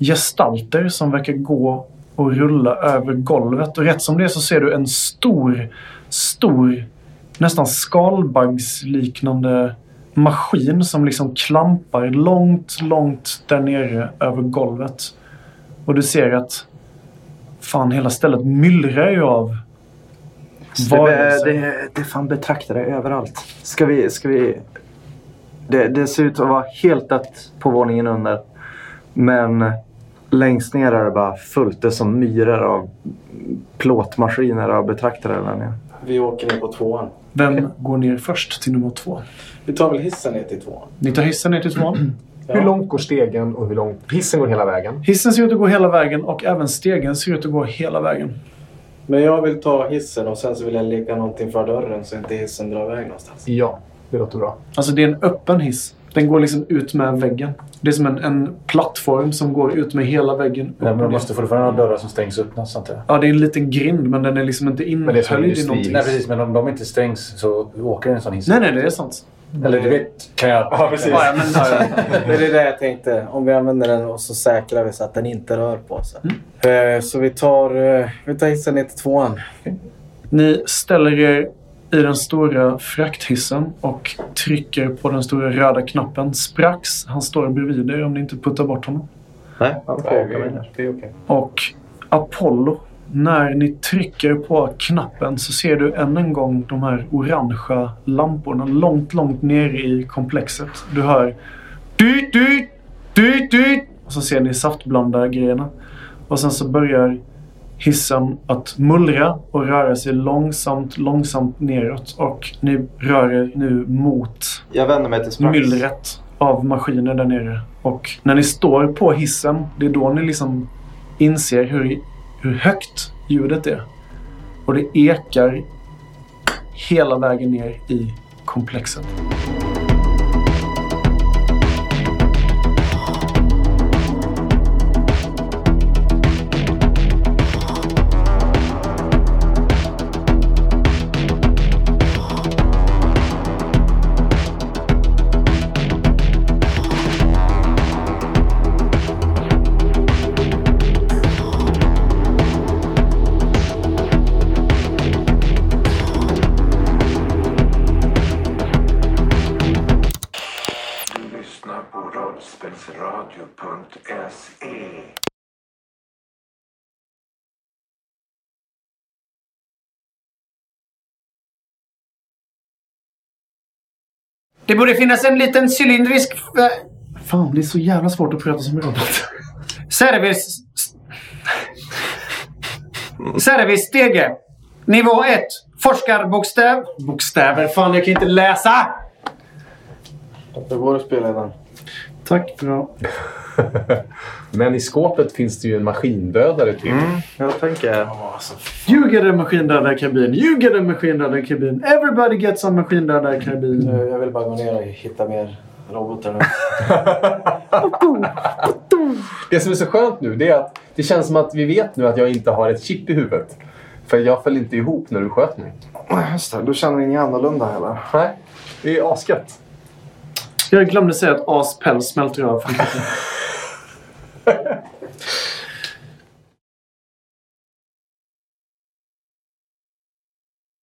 Speaker 3: gestalter som verkar gå och rulla över golvet. Och rätt som det är så ser du en stor, stor, nästan skalbaggsliknande maskin som liksom klampar långt, långt där nere över golvet. Och du ser att fan, hela stället myllrar ju av
Speaker 5: Det,
Speaker 3: varelser.
Speaker 5: det, det är fan betraktare överallt. Ska vi... Ska vi... Det, det ser ut att vara helt dött på våningen under. Men längst ner är det bara fullt. Det är som myror av plåtmaskiner av betraktare där nere.
Speaker 13: Vi åker ner på tvåan.
Speaker 3: Vem går ner först till nummer två?
Speaker 13: Vi tar väl hissen ner till tvåan.
Speaker 3: Ni tar hissen ner till tvåan.
Speaker 4: Hur långt går stegen och hur långt... Hissen går hela vägen.
Speaker 3: Hissen ser ut att gå hela vägen och även stegen ser ut att gå hela vägen.
Speaker 2: Men jag vill ta hissen och sen så vill jag lägga någonting för dörren så inte hissen drar iväg någonstans.
Speaker 4: Ja, det låter bra.
Speaker 3: Alltså det är en öppen hiss. Den går liksom ut med väggen. Det är som en, en plattform som går ut med hela väggen. upp
Speaker 6: Nej, men
Speaker 3: och
Speaker 6: de
Speaker 3: ner.
Speaker 6: måste fortfarande ha dörrar som stängs upp någonstans. Där.
Speaker 3: Ja, det är en liten grind men den är liksom inte
Speaker 4: det är som en
Speaker 3: inhöljd i
Speaker 4: industri.
Speaker 3: någonting.
Speaker 6: Nej, precis. Men om de inte strängs så åker en sån hiss.
Speaker 3: Nej, nej, det är sant.
Speaker 6: Eller du vet, kan jag... Ja, precis.
Speaker 3: Ja, ja, men, ja, ja.
Speaker 2: Men det är det jag tänkte. Om vi använder den och så säkrar vi så att den inte rör på sig. Eh, Så vi tar, eh, vi tar hissen ner till tvåan.
Speaker 3: Ni ställer er i den stora frakthissen och trycker på den stora röda knappen. Sprax, han står bredvid er om ni inte puttar bort honom.
Speaker 12: Nej, han får åka med.
Speaker 4: Det är okej.
Speaker 3: Och Apollo, när ni trycker på knappen så ser du än en gång de här orangea lamporna långt, långt nere i komplexet. Du hör dyt, dyt, dyt, dyt. Och så ser ni saftblandargrejerna. Och sen så börjar hissen att mullra och röra sig långsamt, långsamt neråt. Och ni rör er nu mot
Speaker 12: Jag vänder mig till Sprax.
Speaker 3: myllret av maskiner där nere. Och när ni står på hissen, det är då ni liksom inser hur, hur högt ljudet är. Och det ekar hela vägen ner i komplexet.
Speaker 14: Du lyssnar på rollspelsradio.se
Speaker 1: Det borde finnas en liten cylindrisk eh,
Speaker 3: Fan, det är så jävla svårt att prata som robot.
Speaker 1: service... Servicestege. Nivå 1. Forskarbokstäv.
Speaker 3: Bokstäver. Fan, jag kan inte läsa!
Speaker 2: Hur går det spelledaren?
Speaker 3: Tack. Bra.
Speaker 4: Men i skåpet finns det ju en maskindödare typ. till.
Speaker 5: Mm.
Speaker 12: Jag tänker...
Speaker 3: You get a maskindödarkarbin. You get a maskindödarkarbin. Everybody gets a maskindödarkarbin.
Speaker 1: Mm.
Speaker 2: Eh, Jag vill bara gå ner och hitta mer robotar nu.
Speaker 4: Det som är så skönt nu det är att det känns som att vi vet nu att jag inte har ett chip i huvudet. För jag föll inte ihop när du sköt mig.
Speaker 5: Ja, Just det, du känner inget annorlunda heller.
Speaker 4: Nej, det är asgött.
Speaker 3: Jag glömde säga att as päls smälter av.